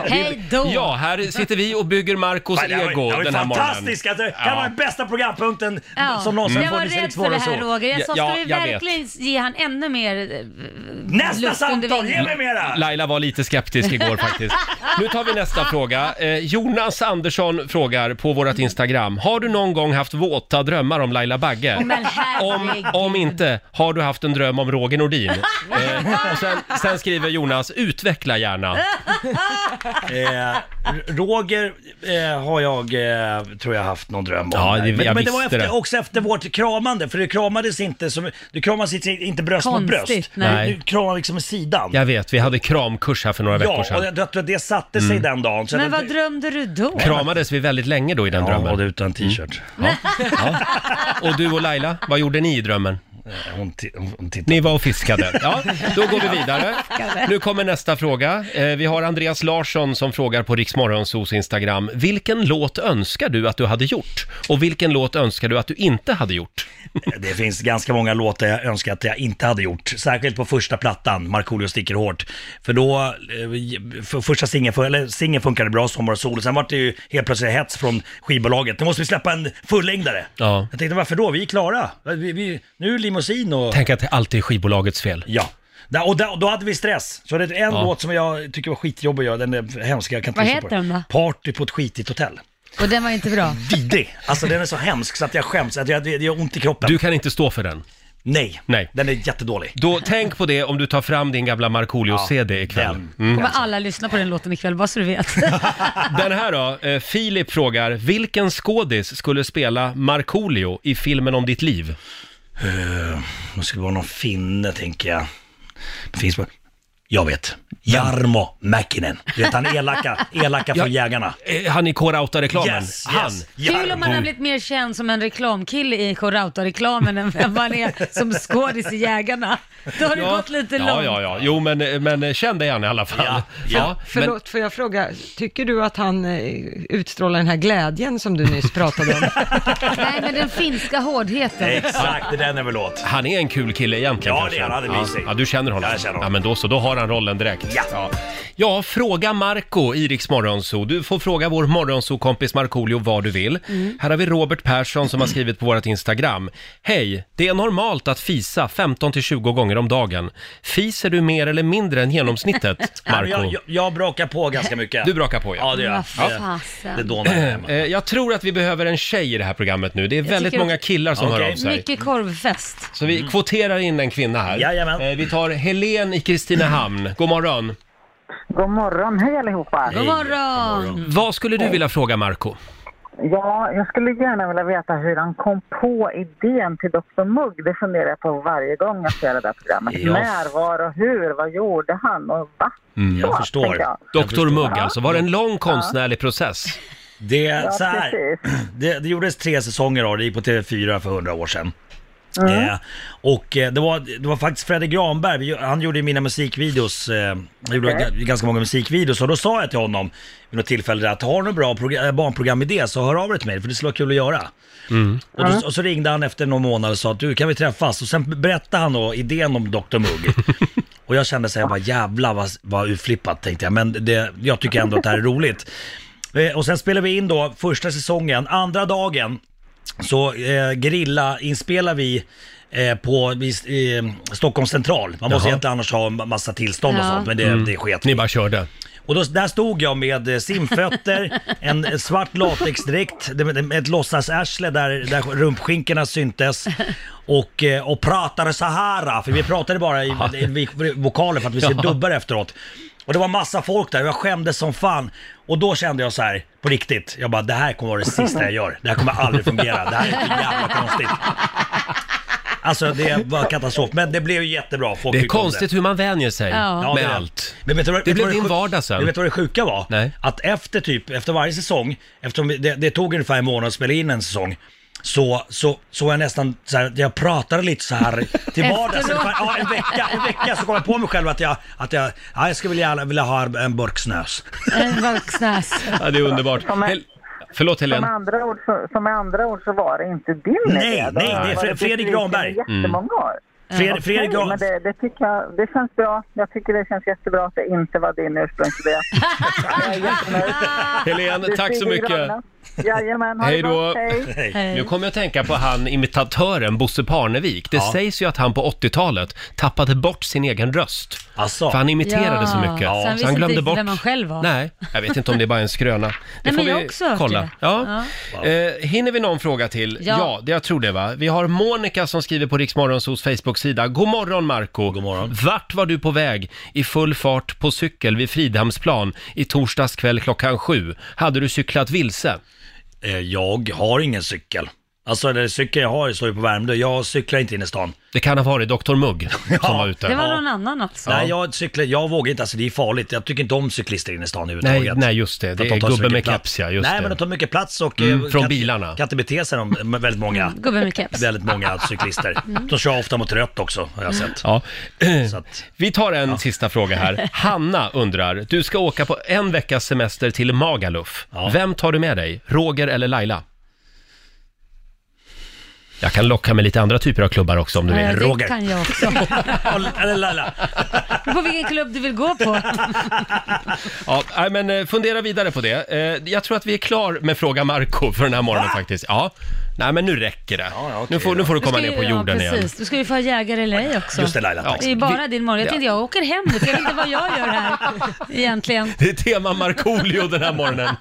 [SPEAKER 12] hej då!
[SPEAKER 1] Ja, här sitter vi och bygger Marcos
[SPEAKER 8] Fan, det här var-
[SPEAKER 1] ego
[SPEAKER 8] det här var
[SPEAKER 1] den här morgonen.
[SPEAKER 8] fantastiskt! Alltså, Det här
[SPEAKER 1] Ja. Mm.
[SPEAKER 8] var den bästa programpunkten
[SPEAKER 2] Ja.
[SPEAKER 8] som någonsin
[SPEAKER 2] jag var
[SPEAKER 8] funnits i
[SPEAKER 2] rädd
[SPEAKER 8] Rix
[SPEAKER 2] för det här
[SPEAKER 8] Morgon så.
[SPEAKER 2] Roger. Jag sa,
[SPEAKER 1] Ja,
[SPEAKER 2] ska vi
[SPEAKER 1] jag vet.
[SPEAKER 2] verkligen ge han ännu mer eh,
[SPEAKER 8] Nästa
[SPEAKER 2] luft under
[SPEAKER 8] samtal, ge
[SPEAKER 2] vingarna?
[SPEAKER 8] mig mera!
[SPEAKER 1] Laila var lite skeptisk igår faktiskt. Nu tar vi nästa fråga. Eh, Jonas Andersson frågar på vårt Instagram. Har du någon gång haft våta drömmar (laughs) om Laila Bagge?
[SPEAKER 2] Åh, men herregud.
[SPEAKER 1] om, om inte, har du haft en dröm om Roger Nordin? Eh, och sen, sen skriver Jonas, utveckla gärna.
[SPEAKER 8] Eh, R- Roger eh, har jag, eh, tror jag, haft någon dröm om.
[SPEAKER 1] Ja, det-
[SPEAKER 8] men,
[SPEAKER 1] jag
[SPEAKER 8] men det var
[SPEAKER 1] visste
[SPEAKER 8] efter,
[SPEAKER 1] det.
[SPEAKER 8] också efter vårt kramande, för det kramades inte, som, det kramades inte- inte bröst mot
[SPEAKER 1] Konstigt,
[SPEAKER 8] bröst.
[SPEAKER 1] nej.
[SPEAKER 8] Du kramade liksom med sidan.
[SPEAKER 1] Jag vet, vi hade kramkurs här för några
[SPEAKER 8] Ja,
[SPEAKER 1] veckor
[SPEAKER 8] och
[SPEAKER 1] sedan.
[SPEAKER 8] jag, jag tror att det satte sig
[SPEAKER 1] Mm.
[SPEAKER 8] den dagen. Så
[SPEAKER 2] Men
[SPEAKER 8] det,
[SPEAKER 2] vad drömde du då?
[SPEAKER 1] Kramades vi väldigt länge då i den drömmen? Mm. Ja,
[SPEAKER 8] både utan t-shirt.
[SPEAKER 1] Och du och Laila, vad gjorde ni i drömmen?
[SPEAKER 8] Hon,
[SPEAKER 1] ni var och fiskade. Ja, då går vi vidare. Nu kommer nästa fråga. Eh, Vi har Andreas Larsson som frågar på Riksmorgonsos Instagram. Vilken låt önskar du att du hade gjort? Och vilken låt önskar du att du inte hade gjort?
[SPEAKER 8] Det finns ganska många låtar jag önskar att jag inte hade gjort. Särskilt på första plattan, Markoolio sticker hårt. För då, eh, för första singeln, för, eller singeln funkade bra, Sommar och sol. Sen var det ju helt plötsligt hets från skivbolaget. Nu måste vi släppa en fullängdare.
[SPEAKER 1] Ja.
[SPEAKER 8] Jag tänkte varför då? Vi är klara. Vi, vi, nu är limousin och...
[SPEAKER 1] Tänk att det alltid är skivbolagets fel.
[SPEAKER 8] Ja. Där- Och där- och då hade vi stress. Så det är en
[SPEAKER 1] Ja.
[SPEAKER 8] låt som jag tycker var skitjobbig att göra, den är hemsk. Jag kan inte
[SPEAKER 2] Vad
[SPEAKER 8] lyssna på
[SPEAKER 2] heter den då?
[SPEAKER 8] Party på ett skitigt hotell.
[SPEAKER 2] Och den var inte bra.
[SPEAKER 8] Vidrig! Alltså den är så hemsk så att jag skäms, att jag, det det gör ont i kroppen.
[SPEAKER 1] Du kan inte stå för den.
[SPEAKER 8] Nej,
[SPEAKER 1] Nej.
[SPEAKER 8] den är jättedålig.
[SPEAKER 1] Då, tänk på det om du tar fram din gamla Markoolio-CD ikväll. Mm.
[SPEAKER 2] Kommer alla lyssna på den låten ikväll, bara så
[SPEAKER 1] (laughs)
[SPEAKER 2] du vet.
[SPEAKER 1] Den här då, eh, Filip frågar, vilken skådis skulle spela Markoolio i filmen om ditt liv?
[SPEAKER 8] Eh, det skulle vara någon finne, tänker jag. Finns på... Jag vet. Jarmo Mäkinen. Du vet, han är elaka, elaka från Jägarna.
[SPEAKER 1] Eh, Han i K-Rauta-reklamen?
[SPEAKER 8] Yes,
[SPEAKER 1] Han?
[SPEAKER 8] yes.
[SPEAKER 2] Kul om man har blivit mer känd som en reklamkille i K-Rauta-reklamen än vem man är som skådis i Jägarna. Då har det gått lite
[SPEAKER 1] ja,
[SPEAKER 2] långt.
[SPEAKER 1] Ja, ja, jo men, men eh, känn dig han i alla fall. (laughs) Ja,
[SPEAKER 3] Förlåt, får jag fråga, tycker du att han eh, utstrålar den här glädjen som du nyss pratade om?
[SPEAKER 2] (laughs) Nej, men den finska hårdheten.
[SPEAKER 8] det den är väl åt.
[SPEAKER 1] Han är en kul kille egentligen
[SPEAKER 8] Ja,
[SPEAKER 1] kanske.
[SPEAKER 8] det är han. Han är mysig.
[SPEAKER 1] Ja, ja, du känner honom?
[SPEAKER 8] Jag känner honom.
[SPEAKER 1] Ja, men då så, då har morgonrollen direkt. Ja. ja. fråga Marco i Rix Morgonzoo. Du får fråga vår morgonzoo-kompis Markoolio vad du vill.
[SPEAKER 13] Mm.
[SPEAKER 1] Här har vi Robert Persson som har skrivit på vårt Instagram. Hej! Det är normalt att fisa 15-20 gånger om dagen. Fiser du mer eller mindre än genomsnittet,
[SPEAKER 8] (laughs) Ja, men
[SPEAKER 1] Marco?
[SPEAKER 8] jag, jag, jag brakar på ganska mycket.
[SPEAKER 1] Du brakar på, ja.
[SPEAKER 8] Ja, det gör jag.
[SPEAKER 1] Vad
[SPEAKER 8] Ja.
[SPEAKER 2] fasen.
[SPEAKER 8] Det dånar här hemma.
[SPEAKER 1] Eh, Jag tror att vi behöver en tjej i det här programmet nu. Det är
[SPEAKER 2] Jag
[SPEAKER 1] väldigt
[SPEAKER 2] tycker-
[SPEAKER 1] många killar som hör av sig.
[SPEAKER 2] Mycket korvfest.
[SPEAKER 1] Så
[SPEAKER 8] Mm.
[SPEAKER 1] vi kvoterar in en kvinna här. Eh, Vi tar Helen i Kristinehamn. God morgon.
[SPEAKER 14] God morgon, hej allihopa!
[SPEAKER 1] God Hej.
[SPEAKER 2] morgon!
[SPEAKER 1] Vad skulle du vilja fråga Marco?
[SPEAKER 14] Ja, jag skulle gärna vilja veta hur han kom på idén till Dr Mugg. Det funderar jag på varje gång jag ser det där programmet.
[SPEAKER 1] Ja.
[SPEAKER 14] När, var och hur? Vad gjorde han och va?
[SPEAKER 8] Mm, Jag förstår.
[SPEAKER 14] tänker jag.
[SPEAKER 1] Doktor Mugg alltså. Var det en lång konstnärlig process?
[SPEAKER 8] Det,
[SPEAKER 14] Ja,
[SPEAKER 8] så här, (clears throat) det, det gjordes tre säsonger av det, det gick på TV4 för hundra år sedan.
[SPEAKER 14] Mm.
[SPEAKER 8] Eh, och eh, det var, det var faktiskt Fredrik Granberg, vi- han gjorde ju mina musikvideos, eh, han gjorde
[SPEAKER 14] Okej.
[SPEAKER 8] ga- ganska många musikvideos och då sa jag till honom vid något tillfälle att har du någon bra progra- eh, barnprogramidé så hör av dig till mig för det skulle vara kul att göra. Och, då, och så ringde han efter någon månad och sa att du kan vi träffas? Och sen berättade han då idén om
[SPEAKER 1] (laughs)
[SPEAKER 8] Dr Mugg. och jag kände så här, vad jävlar vad, vad utflippat tänkte jag, men det, jag tycker ändå att det här är roligt. Eh, Och sen spelade vi in då första säsongen, andra dagen så eh, grilla inspelar vi eh, på i, eh, Stockholms central. Man måste
[SPEAKER 1] Jaha.
[SPEAKER 8] egentligen annars ha en massa tillstånd och
[SPEAKER 1] Ja.
[SPEAKER 8] sånt, men det,
[SPEAKER 1] Mm.
[SPEAKER 8] det sket
[SPEAKER 1] Ni bara körde?
[SPEAKER 8] Och då, där stod jag med
[SPEAKER 1] (laughs)
[SPEAKER 8] eh, simfötter, en svart latexdräkt, det- det- ett låtsasarsle där, där rumpskinkorna syntes. Och, eh, och pratade så här, för vi pratade bara i, i, i vokaler för att vi skulle
[SPEAKER 1] Ja.
[SPEAKER 8] dubbar efteråt. Och det var massa folk där och jag skämdes som fan. Och då kände jag så här, på riktigt, jag bara det här kommer vara det sista jag gör. Det här kommer aldrig fungera. Det här är så jävla konstigt. Alltså det var katastrof, men det blev ju jättebra. Folk
[SPEAKER 1] Det är
[SPEAKER 8] tyckte om
[SPEAKER 1] konstigt hur man vänjer sig
[SPEAKER 8] Ja,
[SPEAKER 1] med
[SPEAKER 8] det är-
[SPEAKER 1] allt.
[SPEAKER 8] Men vet du vad-
[SPEAKER 1] det
[SPEAKER 8] vet du
[SPEAKER 1] blev
[SPEAKER 8] vad
[SPEAKER 1] din
[SPEAKER 8] sjuk-
[SPEAKER 1] vardag sen.
[SPEAKER 8] Men vet du vad det sjuka var?
[SPEAKER 1] Nej.
[SPEAKER 8] Att efter typ, efter varje säsong, eftersom det, det tog ungefär en månad att spela in en säsong, så, så, så var jag nästan så här, jag pratade lite så här till vardags.
[SPEAKER 11] Efteråt.
[SPEAKER 8] Ungefär, ja, en vecka, en vecka så kom jag på mig själv att jag, att jag, ja, jag skulle vilja, vilja ha en burk snös.
[SPEAKER 2] En vuxnas.
[SPEAKER 1] (laughs) Ja, det är underbart.
[SPEAKER 14] Som är-
[SPEAKER 1] Hel- Förlåt
[SPEAKER 14] Som
[SPEAKER 1] Helen.
[SPEAKER 14] med, andra ord så, som med andra ord så var det inte din
[SPEAKER 1] Nej,
[SPEAKER 14] idé.
[SPEAKER 1] nej, det är
[SPEAKER 14] Var
[SPEAKER 1] Fre-
[SPEAKER 14] det
[SPEAKER 1] Fredrik
[SPEAKER 14] besviken i
[SPEAKER 1] Granberg.
[SPEAKER 14] Jättemånga år.
[SPEAKER 1] Mm. Fred-
[SPEAKER 14] Okej,
[SPEAKER 1] Fredrik Gran-
[SPEAKER 14] men det, det, tycker jag, det känns bra. Jag tycker det känns jättebra att det inte var din
[SPEAKER 1] (laughs)
[SPEAKER 14] ursprungsidé. Jag är jättenöjd.
[SPEAKER 1] Helen,
[SPEAKER 14] Det är
[SPEAKER 1] tack så
[SPEAKER 14] Fredrik
[SPEAKER 1] mycket.
[SPEAKER 14] Granberg. Jajamän, ha det
[SPEAKER 1] Hej
[SPEAKER 14] bra.
[SPEAKER 1] då! (laughs) Nu kommer jag att tänka på han imitatören Bosse Parnevik. Det sägs ju att han på 80-talet tappade bort sin egen röst.
[SPEAKER 8] Alltså,
[SPEAKER 1] För han imiterade så mycket.
[SPEAKER 2] Ja, så han,
[SPEAKER 1] Så han glömde bort...
[SPEAKER 2] vem man själv var.
[SPEAKER 1] Nej, jag vet inte om det är bara en
[SPEAKER 2] (laughs)
[SPEAKER 1] skröna. Det får
[SPEAKER 2] Nej, men jag
[SPEAKER 1] vi
[SPEAKER 2] har också hört
[SPEAKER 1] kolla.
[SPEAKER 2] det.
[SPEAKER 1] Ja. Eh, hinner vi någon fråga till?
[SPEAKER 2] Ja.
[SPEAKER 1] Ja, det, jag tror det va. Vi har Monica som skriver på Riksmorgonsos Facebook-sida. God morgon Marco. God morgon. Vart var du på väg i full fart på cykel vid Fridhemsplan i torsdags kväll klockan sju? Hade du cyklat vilse?
[SPEAKER 8] Eh, Jag har ingen cykel. Alltså den cykel jag har står ju på Värmdö, jag cyklar inte in i stan.
[SPEAKER 1] Det kan ha varit Dr
[SPEAKER 8] (laughs)
[SPEAKER 1] Mugg
[SPEAKER 8] som var
[SPEAKER 1] ute.
[SPEAKER 2] Det var någon annan alltså. också.
[SPEAKER 8] Nej, jag cyklar, jag vågar inte, alltså det är farligt. Jag tycker inte om cyklister inne i stan överhuvudtaget.
[SPEAKER 1] Nej, nej just det.
[SPEAKER 8] Att
[SPEAKER 1] Det
[SPEAKER 8] de
[SPEAKER 1] är
[SPEAKER 8] tar så
[SPEAKER 1] gubben
[SPEAKER 8] mycket
[SPEAKER 1] med
[SPEAKER 8] plats.
[SPEAKER 1] keps ja, just
[SPEAKER 8] Nej,
[SPEAKER 1] det.
[SPEAKER 8] men de tar mycket plats och...
[SPEAKER 1] Mm,
[SPEAKER 8] eh,
[SPEAKER 1] från
[SPEAKER 8] kan,
[SPEAKER 1] bilarna.
[SPEAKER 8] Kan inte bete sig, de, med väldigt många.
[SPEAKER 2] (laughs) Gubben med keps. Mm.
[SPEAKER 8] Väldigt många cyklister.
[SPEAKER 2] (laughs)
[SPEAKER 8] De kör ofta mot rött också, har jag sett. (clears throat)
[SPEAKER 1] Ja. (clears throat) Vi tar en sista fråga
[SPEAKER 8] (laughs)
[SPEAKER 1] här. Hanna undrar, du ska åka på en veckas semester till Magaluf. Vem tar du med dig? Roger eller Laila? Jag kan locka med lite andra typer av klubbar också om du vill.
[SPEAKER 2] Ja, Eh, det kan jag också.
[SPEAKER 8] Eller Laila.
[SPEAKER 2] på vilken klubb du vill gå på.
[SPEAKER 1] Ja, nej, men eh, fundera vidare på det. Eh, Jag tror att vi är klar med Fråga Marco för den här morgonen faktiskt. Ja. Nej, men nu räcker det. nu, får, nu får du komma
[SPEAKER 2] ska
[SPEAKER 1] ner
[SPEAKER 2] ju-
[SPEAKER 1] på jorden
[SPEAKER 2] ja,
[SPEAKER 1] igen.
[SPEAKER 2] precis. Du ska ju få ha jägare eller ej också.
[SPEAKER 1] Just det, Laila, tack.
[SPEAKER 2] Det är ju bara
[SPEAKER 1] Vi-
[SPEAKER 2] din morgon. Jag tänkte jag åker hem nu, för jag vet inte vad jag gör här egentligen.
[SPEAKER 1] Det är tema Markoolio den här morgonen.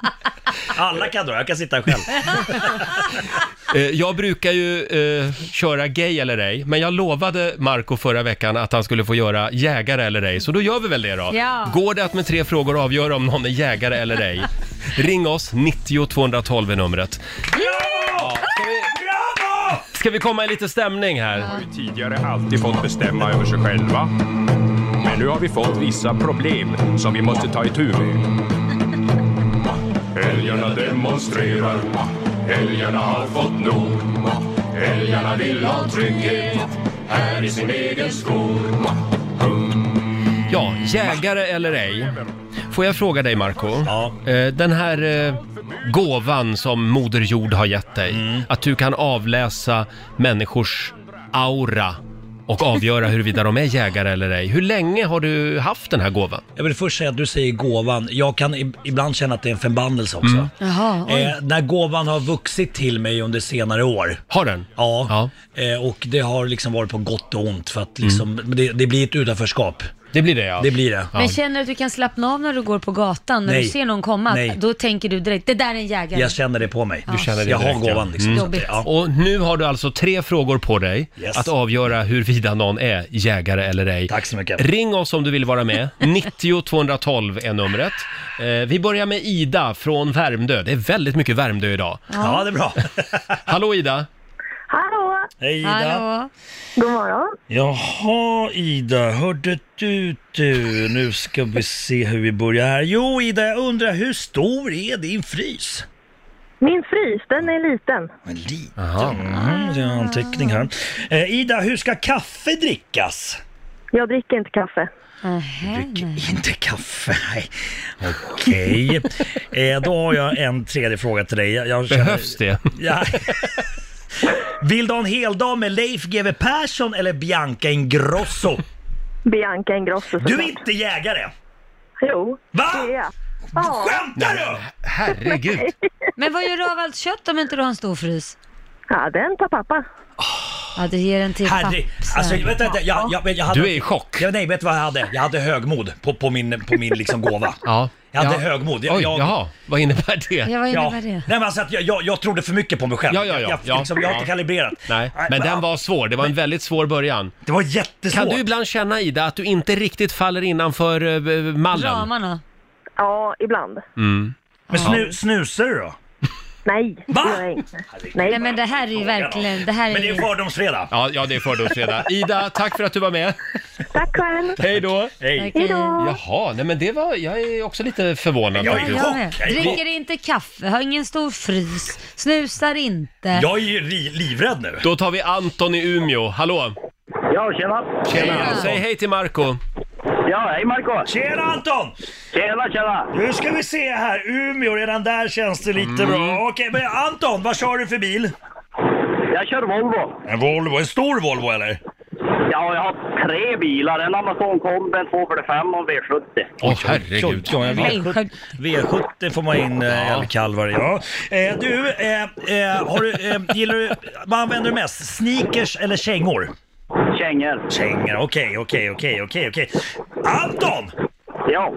[SPEAKER 8] Alla kan dra, jag kan
[SPEAKER 1] (laughs)
[SPEAKER 8] sitta själv.
[SPEAKER 1] Eh, Jag brukar ju eh, köra gay eller ej, men jag lovade Marco förra veckan att han skulle få göra jägare eller ej, så då gör vi väl det då.
[SPEAKER 11] Ja.
[SPEAKER 1] Går det att med tre frågor avgöra om någon är jägare eller ej? Ring oss, 90 212 är numret. Ska vi komma i lite stämning här?
[SPEAKER 5] har ju tidigare alltid fått bestämma över sig själva. Men nu har vi fått vissa problem som vi måste ta itu med. Älgarna demonstrerar, älgarna har fått nog. Älgarna vill ha trygghet här i sin egen skog.
[SPEAKER 1] Ja, jägare eller ej. Får jag fråga dig Marco? Eh, Den här eh, gåvan som Moder
[SPEAKER 8] Mm.
[SPEAKER 1] Jord har gett dig, att du kan avläsa människors aura och avgöra huruvida de är jägare eller ej. Hur länge har du haft den här gåvan?
[SPEAKER 8] Jag vill först säga att du säger gåvan. Jag kan ib- ibland känna att det är en förbannelse också.
[SPEAKER 1] Mm.
[SPEAKER 2] Jaha, oj.
[SPEAKER 8] Eh, när gåvan har vuxit till mig under senare år.
[SPEAKER 1] Har den?
[SPEAKER 8] Ja. Eh, och det har liksom varit på gott och ont för att
[SPEAKER 1] Mm.
[SPEAKER 8] liksom, det, det blir ett utanförskap.
[SPEAKER 1] Det blir det ja.
[SPEAKER 8] Det blir det.
[SPEAKER 2] Men känner du att du kan slappna av när du går på gatan, när du
[SPEAKER 8] Nej.
[SPEAKER 2] ser någon komma?
[SPEAKER 8] Nej.
[SPEAKER 2] Då tänker du direkt, det där är en jägare.
[SPEAKER 8] Jag känner det på mig.
[SPEAKER 2] Du känner det
[SPEAKER 8] jag har
[SPEAKER 1] direkt, ja.
[SPEAKER 8] gåvan liksom.
[SPEAKER 1] Mm.
[SPEAKER 8] Så att det- ja.
[SPEAKER 1] Och nu har du alltså tre frågor på dig
[SPEAKER 8] Yes.
[SPEAKER 1] att avgöra huruvida någon är jägare eller ej. Tack
[SPEAKER 8] så mycket.
[SPEAKER 1] Ring oss om du vill vara
[SPEAKER 8] (laughs)
[SPEAKER 1] med. 90 212 är numret. Eh, vi börjar med Ida från Värmdö. Det är väldigt mycket Värmdö idag.
[SPEAKER 11] Ja. Ja, det är
[SPEAKER 8] bra.
[SPEAKER 1] Hallå Ida!
[SPEAKER 11] Hallå!
[SPEAKER 8] (laughs) Hej Ida. Hallå.
[SPEAKER 11] God morgon.
[SPEAKER 8] Jaha Ida, hörde du du? Nu ska vi se hur vi börjar här. Jo Ida, jag undrar hur stor är din frys?
[SPEAKER 13] Min frys, den är liten.
[SPEAKER 8] En liten. Mm, det är en anteckning här. Eh, Ida, hur ska kaffe drickas?
[SPEAKER 13] Jag dricker inte kaffe.
[SPEAKER 8] Drick inte kaffe, nej. Okej. Eh, då har jag en tredje fråga till dig. Jag, jag känner-
[SPEAKER 1] Behövs det?
[SPEAKER 8] Ja. Vill du ha en hel dag med Leif GW Persson eller Bianca Ingrosso?
[SPEAKER 13] Bianca Ingrosso
[SPEAKER 8] Du Ah! är inte jägare!
[SPEAKER 13] Jo,
[SPEAKER 8] Va?
[SPEAKER 13] det är jag.
[SPEAKER 8] Skämtar du?
[SPEAKER 1] Herregud!
[SPEAKER 2] Men vad gör du av allt kött om inte du har en stor frys?
[SPEAKER 13] Ja, den tar pappa.
[SPEAKER 2] Ja, det ger en till
[SPEAKER 8] Herre,
[SPEAKER 2] pappsen.
[SPEAKER 8] alltså, vänta, vänta, jag, jag, jag hade,
[SPEAKER 1] Du är i chock.
[SPEAKER 8] Ja, nej, vet du vad jag hade? Jag hade högmod på, på min, på min liksom gåva.
[SPEAKER 1] Ja.
[SPEAKER 8] Jag hade
[SPEAKER 1] Ja.
[SPEAKER 8] högmod. Jag,
[SPEAKER 1] Oj,
[SPEAKER 8] jag,
[SPEAKER 1] jaha. Vad innebär det?
[SPEAKER 2] Ja, vad innebär det?
[SPEAKER 8] Nej, men alltså att jag, jag, jag trodde för mycket på mig själv.
[SPEAKER 1] Ja, ja, ja.
[SPEAKER 8] Jag,
[SPEAKER 1] Ja.
[SPEAKER 8] jag, liksom, jag har
[SPEAKER 1] Ja.
[SPEAKER 8] inte kalibrerat.
[SPEAKER 1] Nej, men den var svår. Det var en väldigt svår början.
[SPEAKER 8] Det var jättesvårt.
[SPEAKER 1] Kan du ibland känna Ida att du inte riktigt faller innanför eh, mallen?
[SPEAKER 2] Ramarna?
[SPEAKER 13] Ja, ibland.
[SPEAKER 1] Mm.
[SPEAKER 8] Men
[SPEAKER 1] Ja.
[SPEAKER 8] snu, snusar du då?
[SPEAKER 13] Nej,
[SPEAKER 8] Va?
[SPEAKER 13] det gör jag inte.
[SPEAKER 2] Nej. men det här är ju verkligen, det här är,
[SPEAKER 8] Men det är fördomsfredag.
[SPEAKER 1] Ja, ja, det är fördomsfredag.
[SPEAKER 8] (laughs)
[SPEAKER 1] Ida, tack för att du var med.
[SPEAKER 13] Tack själv.
[SPEAKER 1] Hej då!
[SPEAKER 8] Hej.
[SPEAKER 2] Hej då.
[SPEAKER 1] Jaha, nej men det var, jag är också lite förvånad.
[SPEAKER 8] Jag är
[SPEAKER 1] faktiskt.
[SPEAKER 2] Jag med. Dricker inte kaffe, har ingen stor frys, snusar inte.
[SPEAKER 8] Jag är ju ri- livrädd nu.
[SPEAKER 1] Då tar vi Anton i Umeå, hallå!
[SPEAKER 15] Ja, tjena!
[SPEAKER 1] Tjena! Säg hej till Marco.
[SPEAKER 15] Ja, hej Marco!
[SPEAKER 8] Tjena Anton!
[SPEAKER 15] Tjena, tjena!
[SPEAKER 8] Nu ska vi se här, Umeå, redan där känns det lite
[SPEAKER 1] Mm.
[SPEAKER 8] bra. Okej, men Anton, vad kör du för bil?
[SPEAKER 15] Jag kör Volvo.
[SPEAKER 8] En Volvo, en stor Volvo eller?
[SPEAKER 15] Ja, jag har tre bilar. En Amazon Combi, en 245 och en V70.
[SPEAKER 1] Åh herregud.
[SPEAKER 8] Ja, en V70, V70 får man in eh, älgkalvar i. Ja. Eh, du, eh, eh, har du, eh, gillar du, vad använder du mest? Sneakers eller kängor?
[SPEAKER 15] Kängor.
[SPEAKER 8] Kängor, okej, okej, okej, okej, okej. Anton!
[SPEAKER 15] Ja.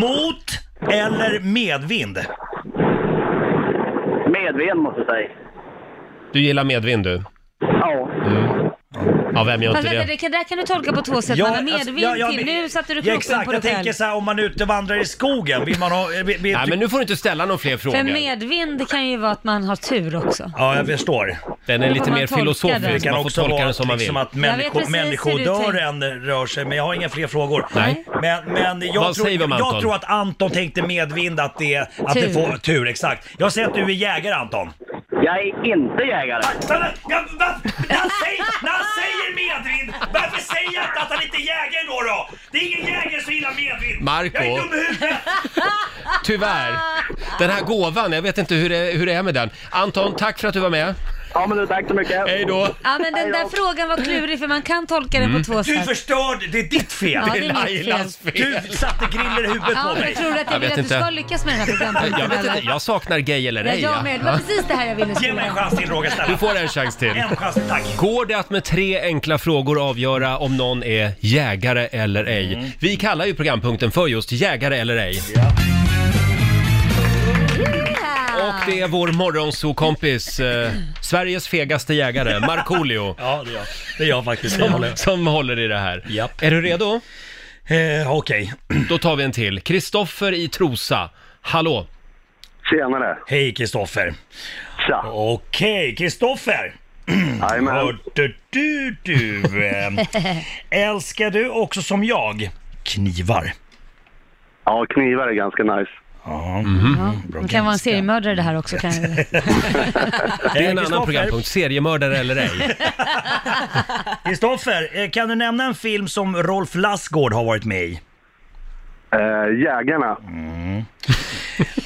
[SPEAKER 8] Mot eller medvind?
[SPEAKER 15] Medvind måste jag säga.
[SPEAKER 1] Du gillar medvind du?
[SPEAKER 15] Ja.
[SPEAKER 1] Mm. Ja, vem gör
[SPEAKER 2] Fast
[SPEAKER 1] inte
[SPEAKER 2] vänta,
[SPEAKER 1] det?
[SPEAKER 2] Alltså, det kan- det där kan du tolka på två sätt. Man har medvind
[SPEAKER 8] ja, ja,
[SPEAKER 2] till.
[SPEAKER 8] men-
[SPEAKER 2] Nu satte du
[SPEAKER 8] ja,
[SPEAKER 2] kroppen
[SPEAKER 8] exakt,
[SPEAKER 2] på dig
[SPEAKER 8] jag tänker
[SPEAKER 2] själv.
[SPEAKER 8] så här om man är ute och vandrar i skogen, vill man ha... eh, Vill, vill,
[SPEAKER 1] Nej, men nu får du inte ställa några fler
[SPEAKER 2] För
[SPEAKER 1] frågor.
[SPEAKER 2] medvind det kan ju vara att man har tur också.
[SPEAKER 8] Ja, jag förstår.
[SPEAKER 1] Den är
[SPEAKER 2] Då
[SPEAKER 1] lite
[SPEAKER 2] får man
[SPEAKER 1] mer
[SPEAKER 2] tolka den.
[SPEAKER 1] filosofisk,
[SPEAKER 8] Det kan
[SPEAKER 1] man får
[SPEAKER 8] också
[SPEAKER 1] tolka
[SPEAKER 8] vara
[SPEAKER 1] den som man vill.
[SPEAKER 8] liksom att
[SPEAKER 2] Jag vet
[SPEAKER 8] människo,
[SPEAKER 2] precis hur du
[SPEAKER 8] människodörren rör sig, men jag har inga fler frågor.
[SPEAKER 1] Nej.
[SPEAKER 8] Men, men jag,
[SPEAKER 1] Vad
[SPEAKER 8] tror,
[SPEAKER 1] säger vi om Anton?
[SPEAKER 8] jag tror att Anton tänkte medvind att det, att det
[SPEAKER 2] Tur.
[SPEAKER 8] får tur, exakt. Jag säger att du är jägare Anton.
[SPEAKER 15] Jag är inte jägare.
[SPEAKER 8] Men, men, ja, va- När han säger, när han säger medvind, varför säger jag inte att han inte är jägare då? då? Det är ingen jägare som gillar medvind.
[SPEAKER 1] Marco.
[SPEAKER 8] Jag är dum i huvudet.
[SPEAKER 1] Tyvärr. Den här gåvan, jag vet inte hur det, hur det är med den. Anton, tack för att du var med.
[SPEAKER 15] Ja, men du, tack så mycket.
[SPEAKER 1] Hej då!
[SPEAKER 2] Ja men den där frågan var klurig för man kan tolka den på två
[SPEAKER 8] Mm. Du
[SPEAKER 2] sätt.
[SPEAKER 8] förstörde, det är ditt fel.
[SPEAKER 2] Ja, det är mitt Lailas fel.
[SPEAKER 1] fel.
[SPEAKER 8] Du satte griller i huvudet
[SPEAKER 2] Ja,
[SPEAKER 8] på mig.
[SPEAKER 2] men tror du att
[SPEAKER 1] Jag
[SPEAKER 2] jag vill
[SPEAKER 1] vet
[SPEAKER 2] att du
[SPEAKER 1] inte.
[SPEAKER 2] ska lyckas med den här
[SPEAKER 1] Jag
[SPEAKER 2] programpunkten
[SPEAKER 1] vet inte,
[SPEAKER 2] eller?
[SPEAKER 1] jag saknar gay eller
[SPEAKER 2] Ja,
[SPEAKER 1] ej.
[SPEAKER 2] jag med. Det var
[SPEAKER 1] Ja.
[SPEAKER 2] precis det här jag ville
[SPEAKER 8] Ge mig en
[SPEAKER 2] säga.
[SPEAKER 8] chans till Roger
[SPEAKER 1] Du
[SPEAKER 8] snälla.
[SPEAKER 1] får en chans till.
[SPEAKER 8] En chans, tack.
[SPEAKER 1] Går det att med tre enkla frågor avgöra om någon är jägare eller ej? Vi kallar ju programpunkten för just jägare eller ej. Och det är vår morgonsokompis, eh, Sveriges fegaste jägare, Markoolio.
[SPEAKER 8] Ja, det är jag. Det är jag faktiskt. Det
[SPEAKER 1] Som,
[SPEAKER 8] håller.
[SPEAKER 1] som håller i det här. Är du redo?
[SPEAKER 8] Eh, Okej.
[SPEAKER 1] Då tar vi en till. Kristoffer i Trosa. Hallå!
[SPEAKER 12] Tjenare!
[SPEAKER 8] Hej Kristoffer.
[SPEAKER 12] Tja!
[SPEAKER 8] Okej, Kristoffer.
[SPEAKER 12] Jajamän!
[SPEAKER 8] Hörde du, du.
[SPEAKER 2] (laughs)
[SPEAKER 8] eh, Älskar du också som jag knivar?
[SPEAKER 12] Ja, knivar är ganska nice.
[SPEAKER 8] Ja.
[SPEAKER 2] Mhm.
[SPEAKER 8] Mm.
[SPEAKER 2] Det kan vara en seriemördare det här också kan
[SPEAKER 8] (laughs)
[SPEAKER 2] jag ju.
[SPEAKER 1] Det är en
[SPEAKER 8] Eh,
[SPEAKER 1] annan
[SPEAKER 8] Kristoffer.
[SPEAKER 1] programpunkt, seriemördare eller ej.
[SPEAKER 8] Kristoffer, eh, kan du nämna en film som Rolf Lassgård har varit med i?
[SPEAKER 12] Eh, jägarna.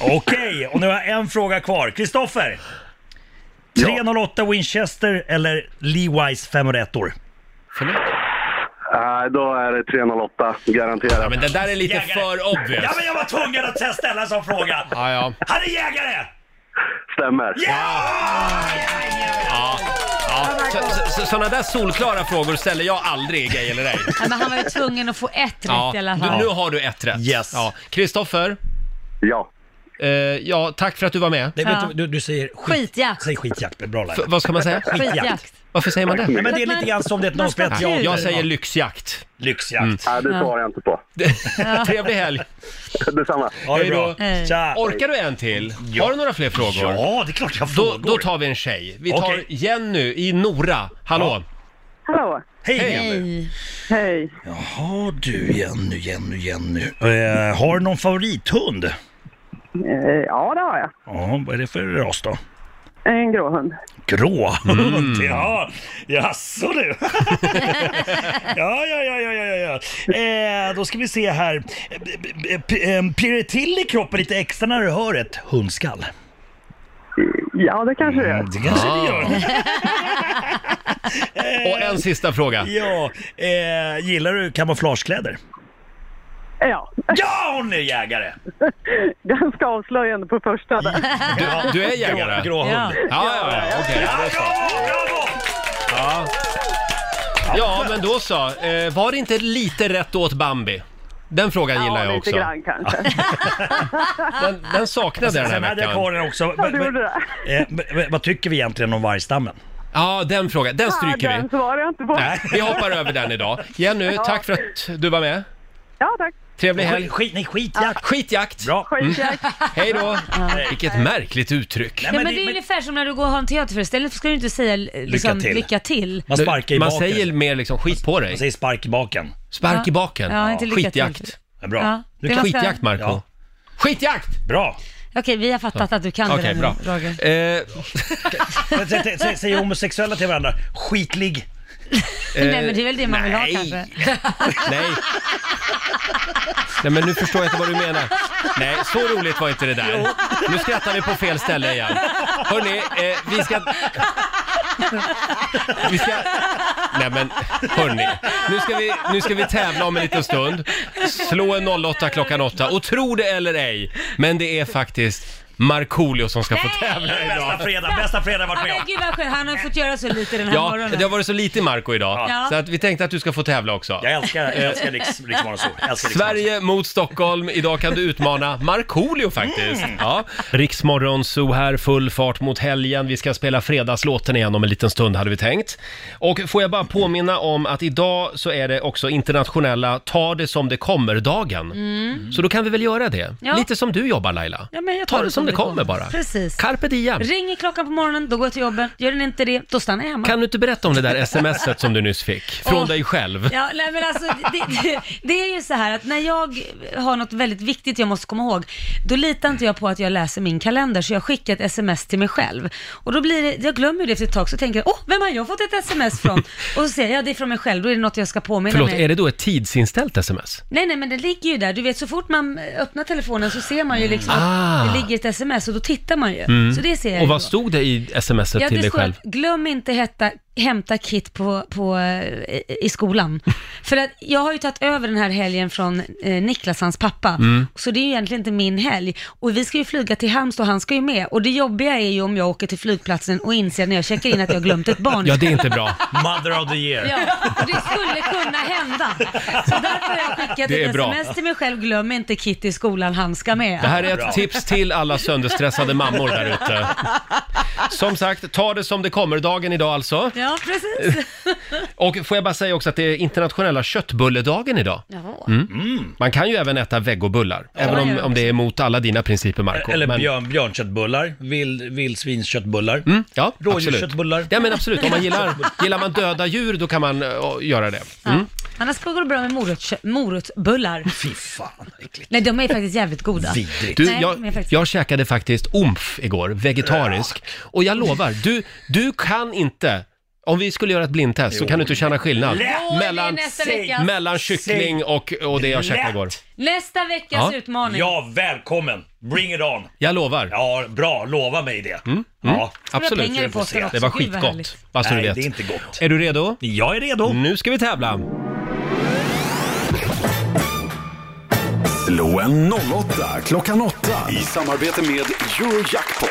[SPEAKER 8] Okej, och nu har jag en fråga kvar. Kristoffer! 308 Winchester eller Levi's 501 or
[SPEAKER 1] Förlåt?
[SPEAKER 12] Nej, Eh, då är det 308, garanterat.
[SPEAKER 1] Ja, men det där är lite
[SPEAKER 8] Jägare.
[SPEAKER 1] för obvious.
[SPEAKER 8] Ja, men jag var tvungen att sen ställa en sån fråga.
[SPEAKER 1] Ja, ja.
[SPEAKER 8] Han är jägare!
[SPEAKER 12] Stämmer.
[SPEAKER 1] Ja. Ja. Så, så, så, såna där solklara frågor ställer jag aldrig, Gay eller ej.
[SPEAKER 2] Ja, men han var ju tvungen att få ett rätt
[SPEAKER 1] Ja,
[SPEAKER 2] i alla
[SPEAKER 1] du,
[SPEAKER 2] fall.
[SPEAKER 1] nu har du ett rätt. Yes. Kristoffer? eh,
[SPEAKER 12] Ja.
[SPEAKER 1] ja, tack för att du var med.
[SPEAKER 8] Nej, vet
[SPEAKER 2] Ja.
[SPEAKER 8] du, du, du säger skit,
[SPEAKER 2] Skitjakt.
[SPEAKER 8] säg skitjakt. Bra Laila.
[SPEAKER 1] F- vad ska man säga?
[SPEAKER 8] Skitjakt.
[SPEAKER 1] Varför säger man det?
[SPEAKER 8] Nej, men det är lite grann som det är ett
[SPEAKER 2] Man ska
[SPEAKER 8] nollspel.
[SPEAKER 2] ha kul.
[SPEAKER 1] Jag säger Mm. lyxjakt.
[SPEAKER 8] Lyxjakt.
[SPEAKER 12] Nej, det svarar jag inte på.
[SPEAKER 1] Trevlig helg!
[SPEAKER 12] Detsamma.
[SPEAKER 8] Ha det
[SPEAKER 1] Hej
[SPEAKER 8] bra.
[SPEAKER 1] då.
[SPEAKER 8] Tja.
[SPEAKER 1] Orkar du en till? Har du några fler frågor?
[SPEAKER 8] Ah, Ja, det är klart jag har
[SPEAKER 1] Då,
[SPEAKER 8] frågor.
[SPEAKER 1] då tar vi en tjej. Vi tar
[SPEAKER 8] Okej.
[SPEAKER 1] Jenny i Nora. Hallå!
[SPEAKER 16] Hallå.
[SPEAKER 8] Hej, Jenny.
[SPEAKER 2] Hej.
[SPEAKER 16] Hej.
[SPEAKER 8] Jaha du, Jenny, Jenny, Jenny. Eh, har du någon favorithund?
[SPEAKER 16] Eh, Ja, det har jag.
[SPEAKER 8] Ja, vad är det för ras då?
[SPEAKER 16] En grå hund.
[SPEAKER 8] Grå
[SPEAKER 1] Mm.
[SPEAKER 8] hund, (laughs) ja. Jaså du? (laughs) ja, ja, ja, ja, ja, ja, ja. Eh, då ska vi se här. Eh, p- p- eh, Pirrar det till i kroppen lite extra när du hör ett hundskall? Mm,
[SPEAKER 16] Ja, det kanske det
[SPEAKER 1] Mm.
[SPEAKER 16] är.
[SPEAKER 8] Det kanske det gör.
[SPEAKER 1] Och en sista fråga.
[SPEAKER 8] Ja, eh, gillar du kamouflagekläder?
[SPEAKER 16] Ja,
[SPEAKER 8] Ja, hon är jägare!
[SPEAKER 16] ganska avslöjande på första där.
[SPEAKER 1] Du, du är jägare?
[SPEAKER 8] Grå, grå hund.
[SPEAKER 1] Ja, ja, ja. Okej, det är så. Ja. ja, men då så. Eh, Var det inte lite rätt åt Bambi? Den frågan gillar jag också.
[SPEAKER 16] lite grann kanske.
[SPEAKER 1] Den, den saknade jag den
[SPEAKER 8] Sen
[SPEAKER 1] här
[SPEAKER 8] hade jag
[SPEAKER 1] veckan.
[SPEAKER 8] kvar den också.
[SPEAKER 16] Ja,
[SPEAKER 8] Men,
[SPEAKER 16] du gjorde
[SPEAKER 8] men,
[SPEAKER 16] det.
[SPEAKER 8] eh, men, men, vad tycker vi egentligen om vargstammen?
[SPEAKER 1] Ja, den frågan. Den
[SPEAKER 16] Ja,
[SPEAKER 1] stryker vi.
[SPEAKER 16] den svarar jag inte på.
[SPEAKER 1] Nej, vi hoppar över den idag. Jenny, tack för att du var med.
[SPEAKER 16] Ja, tack.
[SPEAKER 1] Trevlig helg.
[SPEAKER 8] Skit, skit, nej, skitjakt!
[SPEAKER 1] Skitjakt!
[SPEAKER 8] Bra!
[SPEAKER 16] Skitjakt.
[SPEAKER 1] Hej då! Vilket märkligt uttryck.
[SPEAKER 8] Nej,
[SPEAKER 2] Nej, men,
[SPEAKER 8] det-
[SPEAKER 2] det är ungefär som när du går och har en teaterföreställning, så ska du inte säga liksom,
[SPEAKER 8] till.
[SPEAKER 2] lycka till.
[SPEAKER 8] Man sparkar i
[SPEAKER 1] Man
[SPEAKER 8] baken.
[SPEAKER 1] säger mer liksom skit på
[SPEAKER 8] Man
[SPEAKER 1] dig.
[SPEAKER 8] säger spark i baken.
[SPEAKER 1] Spark i baken.
[SPEAKER 2] Ja, inte lycka till.
[SPEAKER 1] Skitjakt.
[SPEAKER 8] Ja, bra.
[SPEAKER 2] Ja,
[SPEAKER 8] Nu
[SPEAKER 2] det
[SPEAKER 8] kan-
[SPEAKER 2] var-
[SPEAKER 1] Skitjakt Marco.
[SPEAKER 8] Ja.
[SPEAKER 1] Skitjakt!
[SPEAKER 8] Bra!
[SPEAKER 2] Okej, vi har fattat att du kan det
[SPEAKER 1] Okej,
[SPEAKER 2] där
[SPEAKER 1] bra.
[SPEAKER 2] nu, Roger.
[SPEAKER 1] Eh,
[SPEAKER 8] Men sä- sä- sä- Säger homosexuella till varandra, skitlig.
[SPEAKER 2] Nej, men det är väl det man vill ha
[SPEAKER 1] Eh, nej.
[SPEAKER 2] kanske.
[SPEAKER 1] (laughs) Nej. Nej men nu förstår jag inte vad du menar. Nej, så roligt var inte det där. Nu skrattar vi på fel ställe igen. Hörni, eh, vi ska... Vi ska... Nej men, hörni. Nu ska, vi, nu ska vi tävla om en liten stund. Slå en 08 klockan 8. Och tro det eller ej, men det är faktiskt Markoolio som ska få tävla
[SPEAKER 8] Bästa
[SPEAKER 1] idag.
[SPEAKER 8] fredag, bästa fredag varit
[SPEAKER 2] Ja,
[SPEAKER 8] med om.
[SPEAKER 2] men gud vad skönt, han har fått göra så lite den här
[SPEAKER 1] Ja,
[SPEAKER 2] morgonen.
[SPEAKER 1] det har varit så lite Marco idag,
[SPEAKER 2] Ja.
[SPEAKER 1] så att vi tänkte att du ska få tävla också.
[SPEAKER 8] Jag älskar, jag älskar Riks- Riksmorgon så. Jag älskar Riks-
[SPEAKER 1] Sverige mot Stockholm. Idag kan du utmana Markoolio faktiskt. Ja. Riksmorgon så här, full fart mot helgen. Vi ska spela fredagslåten igen om en liten stund hade vi tänkt. Och får jag bara påminna om att idag så är det också internationella ta det som det kommer-dagen. Så då kan vi väl göra det.
[SPEAKER 2] Mm. Ja.
[SPEAKER 1] Lite som du jobbar Laila.
[SPEAKER 2] Ja, men jag
[SPEAKER 1] ta det som det kommer bara.
[SPEAKER 2] Precis.
[SPEAKER 1] Carpe diem.
[SPEAKER 2] Ringer klockan på morgonen, då går jag till jobbet. Gör den inte det, då stannar jag hemma.
[SPEAKER 1] Kan du inte berätta om det där smset som du nyss fick? Från
[SPEAKER 2] Åh.
[SPEAKER 1] dig själv.
[SPEAKER 2] Ja, nej, men alltså, det, det, (laughs) det är ju så här att när jag har något väldigt viktigt jag måste komma ihåg, då litar inte jag på att jag läser min kalender, så jag skickar ett sms till mig själv. Och då blir det, jag glömmer ju det efter ett tag, så tänker jag, åh, vem har jag fått ett
[SPEAKER 1] (laughs)
[SPEAKER 2] sms från? Och så säger jag, ja, det är från mig själv, då är det något jag ska påminna
[SPEAKER 1] Förlåt,
[SPEAKER 2] mig.
[SPEAKER 1] är det då ett tidsinställt sms?
[SPEAKER 2] Nej, nej, men det ligger ju där. Du vet, så fort man öppnar telefonen så ser man ju liksom
[SPEAKER 1] Ah. Mm.
[SPEAKER 2] att det ligger ett sms och då tittar man ju. Så det ser jag
[SPEAKER 1] Och
[SPEAKER 2] ju
[SPEAKER 1] vad
[SPEAKER 2] då.
[SPEAKER 1] stod det i smset
[SPEAKER 2] Ja,
[SPEAKER 1] till
[SPEAKER 2] det
[SPEAKER 1] dig
[SPEAKER 2] står
[SPEAKER 1] själv?
[SPEAKER 2] att glöm inte hetta, hämta kit på, på, eh,
[SPEAKER 1] (laughs)
[SPEAKER 2] i skolan. För att jag har ju tagit över den här helgen från eh, Niklas, hans pappa.
[SPEAKER 1] Mm.
[SPEAKER 2] Så det är ju egentligen inte min helg. Och vi ska ju flyga till Halmstad och han ska ju med. Och det jobbiga är ju om jag åker till flygplatsen och inser när jag checkar in att jag har glömt ett barn.
[SPEAKER 1] Ja, det är inte
[SPEAKER 8] (laughs)
[SPEAKER 1] bra.
[SPEAKER 8] Mother of the year.
[SPEAKER 2] Ja, och det skulle kunna hända. Så därför har jag skickat
[SPEAKER 1] Det är
[SPEAKER 2] ett
[SPEAKER 1] bra.
[SPEAKER 2] sms till mig själv, glöm inte kit i skolan, han ska med.
[SPEAKER 1] Det här är ett tips till alla sönderstressade mammor där ute. Som sagt, ta det som det kommer dagen idag alltså.
[SPEAKER 2] Ja, precis.
[SPEAKER 1] Och får jag bara säga också att det är internationella köttbulledagen idag.
[SPEAKER 2] Ja.
[SPEAKER 1] Mm. Man kan ju även äta vegobullar, även om, om det är emot alla dina principer Marco.
[SPEAKER 8] Eller
[SPEAKER 1] Men-
[SPEAKER 8] björn, björnköttbullar, vild, vildsvinsköttbullar.
[SPEAKER 1] Mm, ja,
[SPEAKER 8] Rådjursköttbullar.
[SPEAKER 1] absolut. Ja men absolut, om man gillar,
[SPEAKER 8] (laughs)
[SPEAKER 1] gillar man döda djur då kan man eh, göra det. Mm.
[SPEAKER 2] Annars går det bra med morotskö- morotsbullar.
[SPEAKER 8] Fy fan vad äckligt.
[SPEAKER 2] Nej, de är faktiskt jävligt goda.
[SPEAKER 8] Vidrigt.
[SPEAKER 1] Du,
[SPEAKER 2] Nej, men
[SPEAKER 1] jag,
[SPEAKER 2] faktiskt-
[SPEAKER 1] jag käkade faktiskt omf igår, vegetarisk. Och jag lovar, du, du kan inte Om vi skulle göra ett blindtest så kan du inte känna skillnad
[SPEAKER 2] Lätt. Jo, det är
[SPEAKER 1] mellan,
[SPEAKER 2] nästa vecka.
[SPEAKER 1] mellan kyckling och, och det jag käkade
[SPEAKER 8] Lätt.
[SPEAKER 1] igår.
[SPEAKER 2] Nästa veckas
[SPEAKER 1] Ja.
[SPEAKER 2] utmaning.
[SPEAKER 8] Ja, välkommen! Bring it on!
[SPEAKER 1] Jag lovar.
[SPEAKER 8] Ja, bra. Lova mig det.
[SPEAKER 1] Mm,
[SPEAKER 8] Ja.
[SPEAKER 1] Absolut.
[SPEAKER 2] pengar i påsen också.
[SPEAKER 1] Det var
[SPEAKER 2] Gud, vad härligt.
[SPEAKER 1] skitgott. Bara så du
[SPEAKER 8] Nej,
[SPEAKER 1] vet.
[SPEAKER 8] det är inte gott.
[SPEAKER 1] Är du redo?
[SPEAKER 8] Jag är redo.
[SPEAKER 1] Nu ska vi tävla.
[SPEAKER 4] Slå en 08 klockan 8
[SPEAKER 17] I samarbete med Eurojackpot.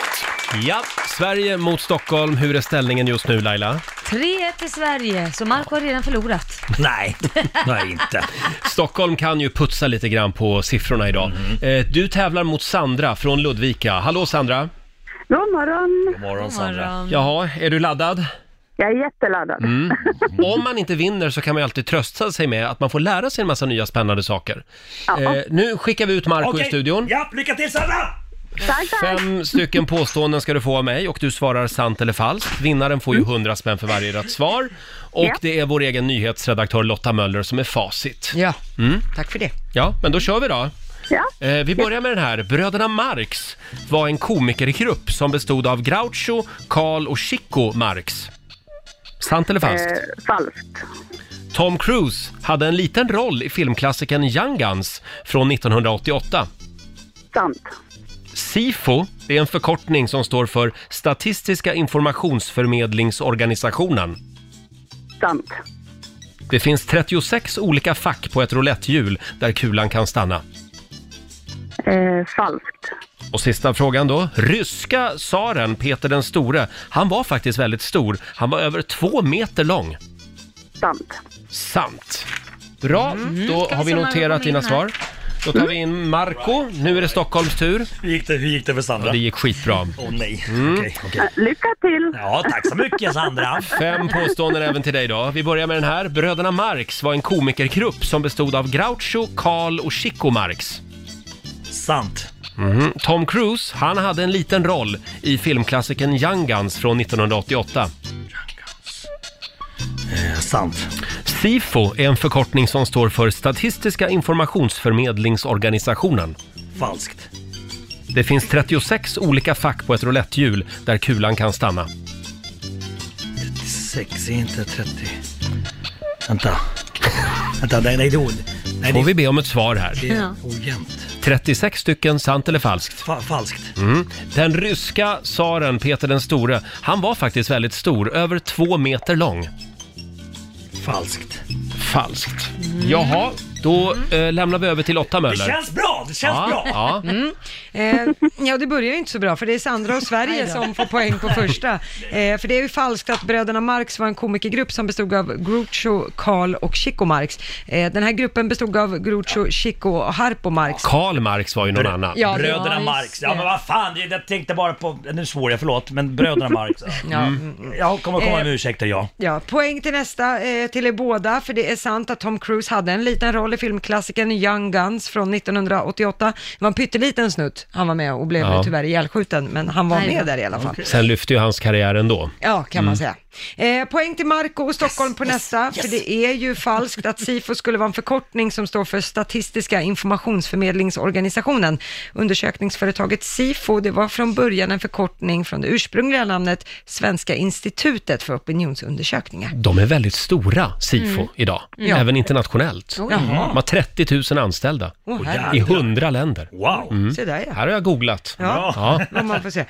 [SPEAKER 1] Ja, Sverige mot Stockholm. Hur är ställningen just nu Laila?
[SPEAKER 2] 3-1 till Sverige, så Marco har redan förlorat.
[SPEAKER 8] Nej, nej inte.
[SPEAKER 1] Stockholm kan ju putsa lite grann på siffrorna idag.
[SPEAKER 8] Mhm.
[SPEAKER 1] Eh, Du tävlar mot Sandra från Ludvika. Hallå Sandra!
[SPEAKER 16] God morgon.
[SPEAKER 8] God morgon
[SPEAKER 16] Sandra.
[SPEAKER 1] Jaha, är du laddad?
[SPEAKER 16] Jag är jätteladdad.
[SPEAKER 1] Mm. Om man inte vinner så kan man ju alltid trösta sig med att man får lära sig en massa nya spännande saker. Eh, nu skickar vi ut Marco i
[SPEAKER 8] Okej.
[SPEAKER 1] studion.
[SPEAKER 8] Ja, lycka till Sandra!
[SPEAKER 16] Tack,
[SPEAKER 1] Fem stycken påståenden ska du få av mig och du svarar sant eller falskt. Vinnaren får ju
[SPEAKER 16] Mm.
[SPEAKER 1] 100 spänn för varje rätt svar. Och
[SPEAKER 3] Ja.
[SPEAKER 1] det är vår egen nyhetsredaktör Lotta Möller som är facit.
[SPEAKER 3] Ja,
[SPEAKER 1] Mm.
[SPEAKER 3] tack för det.
[SPEAKER 1] Ja, men då kör vi då.
[SPEAKER 16] Ja.
[SPEAKER 1] Eh, vi börjar med den här. Bröderna Marx var en komikergrupp som bestod av Groucho, Karl och Chico Marx. Sant eller falskt?
[SPEAKER 16] Eh, falskt.
[SPEAKER 1] Tom Cruise hade en liten roll i filmklassikern Young Guns från 1988.
[SPEAKER 16] Sant.
[SPEAKER 1] SIFO det är en förkortning som står för Statistiska informationsförmedlingsorganisationen.
[SPEAKER 16] Sant.
[SPEAKER 1] Det finns 36 olika fack på ett roulettehjul där kulan kan stanna.
[SPEAKER 16] Eh, falskt.
[SPEAKER 1] Och sista frågan då. Ryska tsaren Peter den store, han var faktiskt väldigt stor. Han var över två meter lång.
[SPEAKER 16] Sant.
[SPEAKER 1] Sant. Bra, då
[SPEAKER 16] Mm. Ska
[SPEAKER 1] har
[SPEAKER 16] vi
[SPEAKER 1] vi
[SPEAKER 16] se om Marco
[SPEAKER 1] noterat
[SPEAKER 16] kommer
[SPEAKER 1] dina
[SPEAKER 16] in här? Mm.
[SPEAKER 1] svar. Då tar vi in Marco. Nu är det Stockholms tur.
[SPEAKER 8] Hur gick det, hur gick det för Sandra?
[SPEAKER 1] Ja, det Mm. Äh, gick skitbra.
[SPEAKER 8] Åh nej. Okej, okej.
[SPEAKER 16] Eh, lycka till.
[SPEAKER 8] Ja, tack så mycket Sandra.
[SPEAKER 1] Fem påståenden även till dig då. Vi börjar med den här. Bröderna Marx var en komikergrupp som bestod av Groucho, Karl och Chico Marx.
[SPEAKER 8] Sant.
[SPEAKER 1] Mhm. Tom Cruise, han hade en liten roll i filmklassikern Young Guns från 1988.
[SPEAKER 8] Eh, sant.
[SPEAKER 1] SIFO är en förkortning som står för Statistiska informationsförmedlingsorganisationen.
[SPEAKER 8] Falskt.
[SPEAKER 1] Det finns 36 olika fack på ett roulettehjul där kulan kan stanna.
[SPEAKER 8] 36 är inte 30. Vänta. Vänta, nej, nej, det är nej,
[SPEAKER 1] Får vi be om ett svar här?
[SPEAKER 8] Det är ojämnt.
[SPEAKER 1] 36 stycken, sant eller falskt?
[SPEAKER 8] Fa- falskt.
[SPEAKER 1] Mm. Den ryska tsaren Peter den store, han var faktiskt väldigt stor, över två meter lång.
[SPEAKER 8] Falskt.
[SPEAKER 1] Falskt. Mm. Jaha, då eh, lämnar vi över till Lotta Möller.
[SPEAKER 8] bra! Det
[SPEAKER 1] känns Ja, bra. ja.
[SPEAKER 3] Mm. Eh, ja, det börjar ju inte så bra, för det är Sandra och Sverige som får poäng på första. Eh, för det är ju falskt att bröderna Marx var en komikergrupp som bestod av Groucho, Karl och Chico Marx. Eh, den här gruppen bestod av Groucho, Chico och Harpo Marx.
[SPEAKER 1] Karl Marx var ju någon annan.
[SPEAKER 3] Ja, det var
[SPEAKER 8] bröderna
[SPEAKER 3] just
[SPEAKER 8] Marx. Ja
[SPEAKER 3] det.
[SPEAKER 8] men vad fan, det- jag tänkte bara på... Nu svor jag, förlåt. Men bröderna Marx.
[SPEAKER 3] Ja,
[SPEAKER 8] Mm. Jag kommer komma med ursäkter, ja.
[SPEAKER 3] Ja, poäng till nästa, eh, till er båda, för det är sant att Tom Cruise hade en liten roll i filmklassikern Young Guns från 1988. Det var en pytteliten snutt han var med och blev
[SPEAKER 1] Ja.
[SPEAKER 3] tyvärr ihjälskjuten, men han var med där i alla fall.
[SPEAKER 1] Sen lyfte ju hans karriär ändå.
[SPEAKER 3] Ja, kan man
[SPEAKER 1] Mm.
[SPEAKER 3] säga. Eh, poäng till Marco och Stockholm på nästa, för det är ju falskt att SIFO skulle vara en förkortning som står för Statistiska informationsförmedlingsorganisationen. Undersökningsföretaget SIFO, det var från början en förkortning från det ursprungliga namnet Svenska institutet för opinionsundersökningar.
[SPEAKER 1] De är väldigt stora, SIFO,
[SPEAKER 3] Mm.
[SPEAKER 1] idag.
[SPEAKER 3] Ja.
[SPEAKER 1] Även internationellt.
[SPEAKER 3] Oj.
[SPEAKER 1] De
[SPEAKER 3] Jaha.
[SPEAKER 1] har 30 000 anställda
[SPEAKER 3] Åh,
[SPEAKER 1] i
[SPEAKER 3] herregud.
[SPEAKER 1] 100 länder.
[SPEAKER 8] Wow!
[SPEAKER 1] Mm.
[SPEAKER 3] Se där, ja.
[SPEAKER 1] Här har jag googlat.
[SPEAKER 3] Ja,
[SPEAKER 1] Ja.
[SPEAKER 3] om man får se. Eh,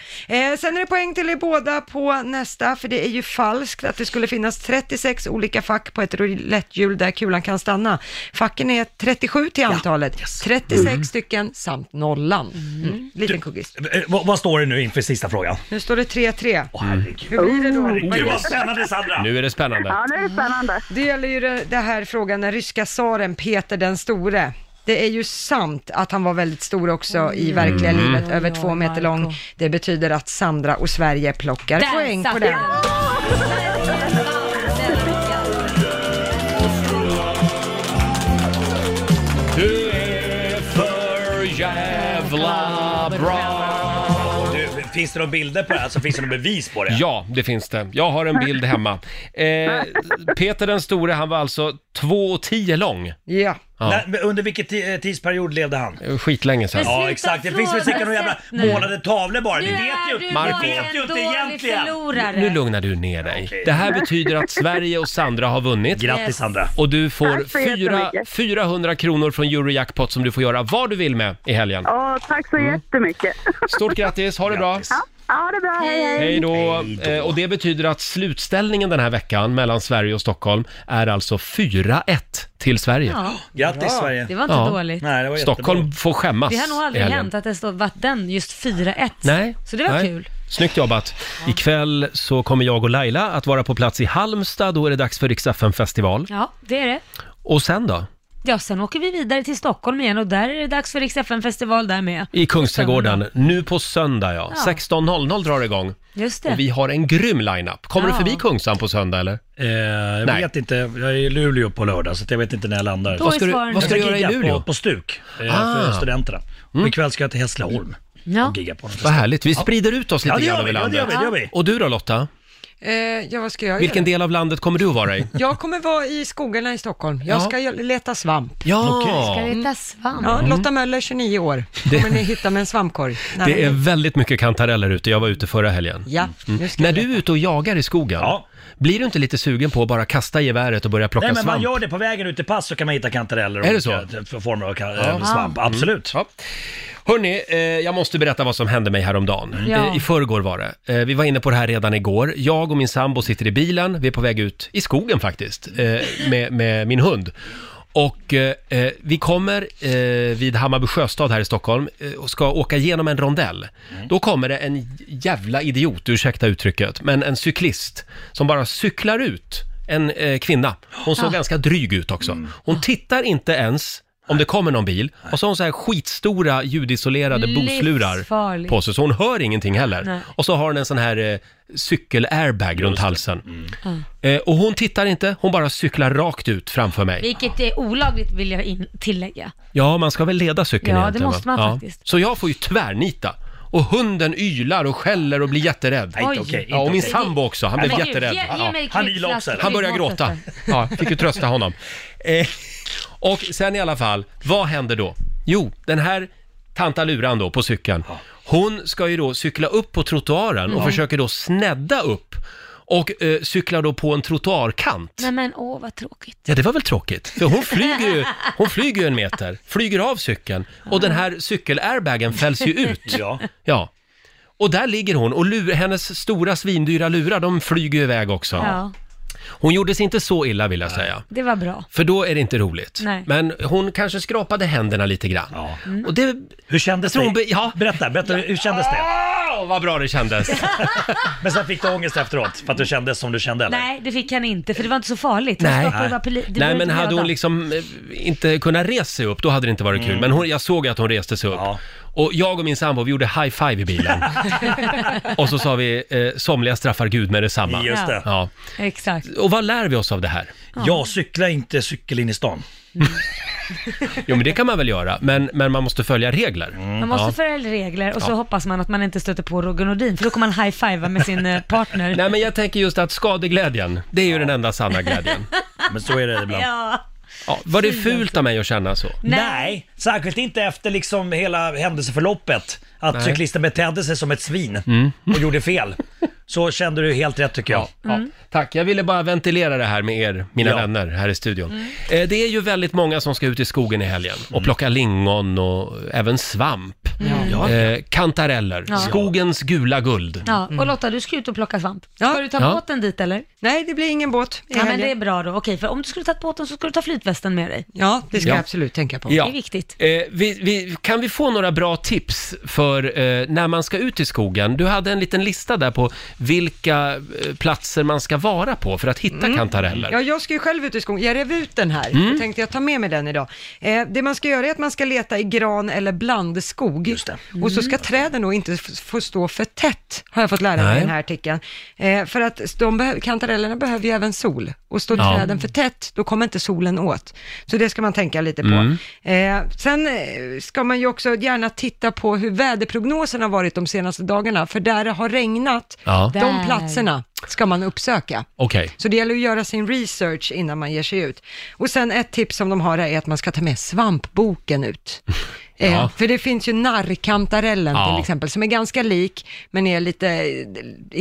[SPEAKER 3] sen är det poäng till er båda på nästa, för det är ju falskt att det skulle finnas 36 olika fack på ett roulettehjul där kulan kan stanna. Facken är 37 till antalet, 36
[SPEAKER 8] Mm.
[SPEAKER 3] stycken samt nollan. Mm. Liten kuggis.
[SPEAKER 8] Eh, vad, vad står det nu inför sista frågan?
[SPEAKER 3] Nu står det 3-3.
[SPEAKER 1] Mm.
[SPEAKER 3] Hur blir det då?
[SPEAKER 8] Herregud vad spännande Sandra!
[SPEAKER 1] Nu är det spännande.
[SPEAKER 3] nu är det spännande. Det gäller ju det, det här frågan, den ryska tsaren Peter den store. Det är ju sant att han var väldigt stor också i verkliga
[SPEAKER 2] Mm.
[SPEAKER 3] livet,
[SPEAKER 2] Oj,
[SPEAKER 3] över
[SPEAKER 2] oj,
[SPEAKER 3] två meter lång. Det betyder att Sandra och Sverige plockar
[SPEAKER 2] Där
[SPEAKER 3] poäng
[SPEAKER 2] satt
[SPEAKER 3] på den.
[SPEAKER 1] Du är för jävla bra
[SPEAKER 8] Du, finns det några bilder på det här? Alltså, finns det några bevis på det?
[SPEAKER 1] Ja, det finns det. Jag har en bild hemma. Eh, Peter den store, han var alltså 2,10 lång.
[SPEAKER 3] Ja.
[SPEAKER 1] Ja.
[SPEAKER 8] När- men under vilken ti- eh, tidsperiod levde han?
[SPEAKER 1] Skitlänge sedan.
[SPEAKER 8] Ja exakt, det finns väl säkert några jävla
[SPEAKER 1] nu.
[SPEAKER 8] målade tavlor bara. Vi
[SPEAKER 2] Nu
[SPEAKER 8] vet
[SPEAKER 2] är
[SPEAKER 8] ju,
[SPEAKER 2] du
[SPEAKER 8] vi
[SPEAKER 1] bara
[SPEAKER 8] vet
[SPEAKER 2] en
[SPEAKER 8] ju inte
[SPEAKER 2] dålig
[SPEAKER 8] egentligen.
[SPEAKER 2] förlorare.
[SPEAKER 1] Nu lugnar du ner dig. Det här betyder att Sverige och Sandra har vunnit.
[SPEAKER 2] Grattis, Yes. Sandra.
[SPEAKER 1] Och du
[SPEAKER 13] Tack så
[SPEAKER 1] får fyra,
[SPEAKER 13] jättemycket.
[SPEAKER 1] 400 kronor från Eurojackpot som du får göra vad du vill med i helgen.
[SPEAKER 13] Ja, tack så jättemycket.
[SPEAKER 1] Stort grattis, ha det bra!
[SPEAKER 13] Ja, ja det är bra. Hej, hej.
[SPEAKER 1] Hej då! Eh, Och det betyder att slutställningen den här veckan mellan Sverige och Stockholm är alltså 4-1 till Sverige.
[SPEAKER 2] Ja.
[SPEAKER 8] Grattis Sverige.
[SPEAKER 2] Det var inte dåligt.
[SPEAKER 1] Stockholm får skämmas.
[SPEAKER 2] Det har nog aldrig
[SPEAKER 1] i helgen.
[SPEAKER 2] hänt att det står vatten just 4-1.
[SPEAKER 1] Nej.
[SPEAKER 2] Så det var
[SPEAKER 1] nej.
[SPEAKER 2] kul.
[SPEAKER 1] Snyggt jobbat. Ikväll så kommer jag och Laila att vara på plats i Halmstad. Då är det dags för Rix festival
[SPEAKER 2] Ja, det är det.
[SPEAKER 1] Och sen då?
[SPEAKER 2] Ja, sen åker vi vidare till Stockholm igen och där är det dags för Rix festival där med.
[SPEAKER 1] I Kungsträdgården. Nu på söndag ja.
[SPEAKER 2] Ja.
[SPEAKER 1] 16.00 drar det igång.
[SPEAKER 2] Just det.
[SPEAKER 1] Och vi har en grym lineup. Kommer
[SPEAKER 2] Ja.
[SPEAKER 1] du förbi Kungsan på söndag eller?
[SPEAKER 8] Eh, jag
[SPEAKER 1] Nej.
[SPEAKER 8] vet inte, jag är i Luleå på lördag så att jag vet inte när jag landar.
[SPEAKER 1] Då Vad ska är du- svaren vad ska
[SPEAKER 8] Jag
[SPEAKER 1] du göra i
[SPEAKER 8] gigga
[SPEAKER 1] Luleå?
[SPEAKER 8] På, på Stuk, eh,
[SPEAKER 1] Ah. Mm.
[SPEAKER 8] för studenterna. Och ikväll ska jag till Hässleholm och gigga på dem.
[SPEAKER 1] Vad härligt. Vi sprider ut oss lite
[SPEAKER 8] ja, det gör
[SPEAKER 1] grann
[SPEAKER 8] vi,
[SPEAKER 1] över
[SPEAKER 8] ja, det
[SPEAKER 1] landet.
[SPEAKER 8] gör vi, det gör vi.
[SPEAKER 1] Och du då Lotta?
[SPEAKER 3] Eh, ja, vad ska jag
[SPEAKER 1] Vilken
[SPEAKER 3] göra?
[SPEAKER 1] del av landet kommer du att vara i?
[SPEAKER 3] Jag kommer vara i skogarna i Stockholm. Jag
[SPEAKER 1] Ja.
[SPEAKER 3] ska ju- leta svamp.
[SPEAKER 1] Ja. Okej. Ska
[SPEAKER 2] leta svamp?
[SPEAKER 3] Ja,
[SPEAKER 1] Mm.
[SPEAKER 3] Lotta Möller, 29 år. Kommer ni hitta med en svampkorg? Nej,
[SPEAKER 1] Det är väldigt mycket kantareller ute. Jag var ute förra helgen.
[SPEAKER 3] Ja,
[SPEAKER 1] Mm. När du är ute och jagar i skogen, blir du inte lite sugen på att bara kasta geväret och börja plocka
[SPEAKER 8] Nej men man
[SPEAKER 1] svamp?
[SPEAKER 8] gör det på vägen ut i pass så kan man hitta kantareller och
[SPEAKER 1] Är det så?
[SPEAKER 8] olika t- former av ka-
[SPEAKER 1] Ja.
[SPEAKER 8] eh, svamp.
[SPEAKER 1] Mm.
[SPEAKER 8] Absolut.
[SPEAKER 1] Ja. Hörni, eh, jag måste berätta vad som hände mig häromdagen.
[SPEAKER 8] Mm. Ja.
[SPEAKER 1] Eh, I förrgår var det. Eh, vi var inne på det här redan igår. Jag och min sambo sitter i bilen, vi är på väg ut i skogen faktiskt, eh, med, med min hund. Och eh, eh, vi kommer eh, vid Hammarby sjöstad här i Stockholm eh, och ska åka genom en rondell.
[SPEAKER 8] Mm.
[SPEAKER 1] Då kommer det en jävla idiot, ursäkta uttrycket, men en cyklist som bara cyklar ut en eh, kvinna. Hon såg
[SPEAKER 8] Ah. Mm.
[SPEAKER 1] ganska dryg ut också. Hon tittar inte ens om det kommer någon bil. Och så har hon så här skitstora ljudisolerade boslurar
[SPEAKER 2] Livsfarligt.
[SPEAKER 1] på sig, så hon hör ingenting heller.
[SPEAKER 2] Nej.
[SPEAKER 1] Och så har hon en sån här eh, cykel-airbag runt halsen.
[SPEAKER 2] Mm.
[SPEAKER 1] Eh, och hon tittar inte, hon bara cyklar rakt ut framför mig.
[SPEAKER 2] Vilket är olagligt vill jag in- tillägga.
[SPEAKER 1] Ja, man ska väl leda cykeln
[SPEAKER 2] Ja, det
[SPEAKER 1] egentligen
[SPEAKER 2] måste man faktiskt.
[SPEAKER 1] Så jag får ju tvärnita. Och hunden ylar och skäller och blir jätterädd.
[SPEAKER 2] Nej, inte Oj. okej, inte
[SPEAKER 1] ja, och min
[SPEAKER 2] okej.
[SPEAKER 1] sambo också, han
[SPEAKER 2] Men
[SPEAKER 1] blev
[SPEAKER 2] gud,
[SPEAKER 1] jätterädd.
[SPEAKER 2] ge- ge
[SPEAKER 1] Ja.
[SPEAKER 2] mig Han ylar också, eller?
[SPEAKER 1] Han började
[SPEAKER 2] klippmatet
[SPEAKER 1] gråta. Ja, fick ju trösta honom. Eh, och sen i alla fall, vad hände då? Jo, den här tantaluran då på cykeln, hon ska ju då cykla upp på trottoaren och
[SPEAKER 2] Ja.
[SPEAKER 1] försöker då snedda upp och eh, cyklar då på en trottoarkant.
[SPEAKER 2] Nej men åh vad tråkigt.
[SPEAKER 1] Ja, det var väl tråkigt. För hon flyger ju, hon flyger ju en meter, flyger av cykeln och den här cykel-airbagen fälls ju ut.
[SPEAKER 8] Ja.
[SPEAKER 1] ja. Och där ligger hon och lur, hennes stora svindyra lurar, de flyger ju iväg också.
[SPEAKER 2] Ja,
[SPEAKER 1] Hon gjorde sig inte så illa vill jag säga.
[SPEAKER 2] det var bra.
[SPEAKER 1] För då är det inte roligt.
[SPEAKER 2] Nej.
[SPEAKER 1] Men hon kanske skrapade händerna lite grann.
[SPEAKER 2] Mm.
[SPEAKER 1] Och det,
[SPEAKER 8] hur kändes
[SPEAKER 1] det? ja.
[SPEAKER 8] Berätta, berätta hur kändes det?
[SPEAKER 1] Åh, vad bra det
[SPEAKER 2] (laughs)
[SPEAKER 1] kändes!
[SPEAKER 8] men sen fick du ångest efteråt för att du kändes som du kände eller?
[SPEAKER 2] Nej, det fick han inte för det var inte så farligt. Han
[SPEAKER 1] Nej.
[SPEAKER 2] stoppade bara poli- det
[SPEAKER 1] Nej
[SPEAKER 2] var
[SPEAKER 1] men
[SPEAKER 2] inte
[SPEAKER 1] hade
[SPEAKER 2] röda.
[SPEAKER 1] hon liksom eh, inte kunnat resa sig upp, då hade det inte varit kul.
[SPEAKER 8] Mm.
[SPEAKER 1] Men hon, jag såg ju att hon reste sig upp. Och jag och min sambo, vi gjorde high five i
[SPEAKER 2] (laughs)
[SPEAKER 1] bilen. och så sa vi, eh, somliga straffar Gud med detsamma.
[SPEAKER 8] Just det.
[SPEAKER 1] Ja.
[SPEAKER 2] Exakt.
[SPEAKER 1] Och vad lär vi oss av det här?
[SPEAKER 8] Jag cyklar inte cykel in i stan.
[SPEAKER 1] Jo men det kan man väl göra, men, men man måste följa regler.
[SPEAKER 8] Mm.
[SPEAKER 2] Man måste
[SPEAKER 1] Mm, Ja.
[SPEAKER 2] följa regler och så
[SPEAKER 1] Ja.
[SPEAKER 2] hoppas man att man inte stöter på Roger Nordin för då kommer man high-fivea med sin eh, partner.
[SPEAKER 1] Nej men jag tänker just att skadeglädjen, det är ju den enda sanna
[SPEAKER 2] (laughs)
[SPEAKER 1] glädjen.
[SPEAKER 8] Men så är det ibland.
[SPEAKER 2] Ja.
[SPEAKER 1] Ja, var det fult av mig att känna så?
[SPEAKER 8] Nej. särskilt inte efter liksom hela händelseförloppet. Att
[SPEAKER 1] Nej.
[SPEAKER 8] cyklisten betedde sig som ett svin
[SPEAKER 1] Mm.
[SPEAKER 8] och gjorde fel. Så kände du helt rätt tycker jag.
[SPEAKER 1] Ja,
[SPEAKER 2] Mm.
[SPEAKER 1] Tack, jag ville bara ventilera det här med er, mina vänner här i studion.
[SPEAKER 2] Mm.
[SPEAKER 1] Eh, Det är ju väldigt många som ska ut i skogen i helgen och plocka lingon och även svamp. Eh, kantareller,
[SPEAKER 2] Mm. Ja.
[SPEAKER 1] skogens gula guld.
[SPEAKER 2] Ja, och Lotta, du ska ut och plocka svamp. Ska du ta
[SPEAKER 1] Mm. Ja.
[SPEAKER 2] båten dit eller?
[SPEAKER 3] Nej, det blir ingen båt i
[SPEAKER 2] Ja, men
[SPEAKER 3] helgen.
[SPEAKER 2] det är bra då. Okej, för om du skulle ta båten så skulle du ta flytvästen med dig.
[SPEAKER 3] Ja, det ska
[SPEAKER 1] Ja.
[SPEAKER 3] jag absolut tänka på.
[SPEAKER 1] Ja.
[SPEAKER 2] Det är viktigt.
[SPEAKER 1] Eh, vi, vi, kan vi få några bra tips för eh, när man ska ut i skogen? Du hade en liten lista där på vilka eh, platser man ska vara på för att hitta
[SPEAKER 2] Mm.
[SPEAKER 1] kantareller.
[SPEAKER 3] Ja, jag ska ju själv ut i skogen. Jag rev ut den här.
[SPEAKER 1] Mm.
[SPEAKER 3] Jag tänkte jag tar med mig den idag. Eh, det man ska göra är att man ska leta i gran eller blandskog. skog. Och så ska träden då inte f- få stå för tätt, har jag fått lära mig
[SPEAKER 1] Nej.
[SPEAKER 3] i den här artikeln. Eh, för att de behö- kantarellerna behöver ju även sol, och står
[SPEAKER 1] Ja.
[SPEAKER 3] träden för tätt, då kommer inte solen åt. Så det ska man tänka lite på.
[SPEAKER 1] Mm.
[SPEAKER 3] Eh, sen eh, ska man ju också gärna titta på hur väderprognosen har varit de senaste dagarna, för där det har regnat,
[SPEAKER 1] Ja.
[SPEAKER 3] de
[SPEAKER 1] Där.
[SPEAKER 3] platserna ska man uppsöka.
[SPEAKER 1] Okej.
[SPEAKER 3] Så det gäller att göra sin research innan man ger sig ut. Och sen ett tips som de har är att man ska ta med svampboken ut.
[SPEAKER 1] (laughs)
[SPEAKER 3] Eh,
[SPEAKER 1] Ja.
[SPEAKER 3] För det finns ju narrkantarellen
[SPEAKER 1] Ja.
[SPEAKER 3] till exempel, som är ganska lik, men är lite, eh,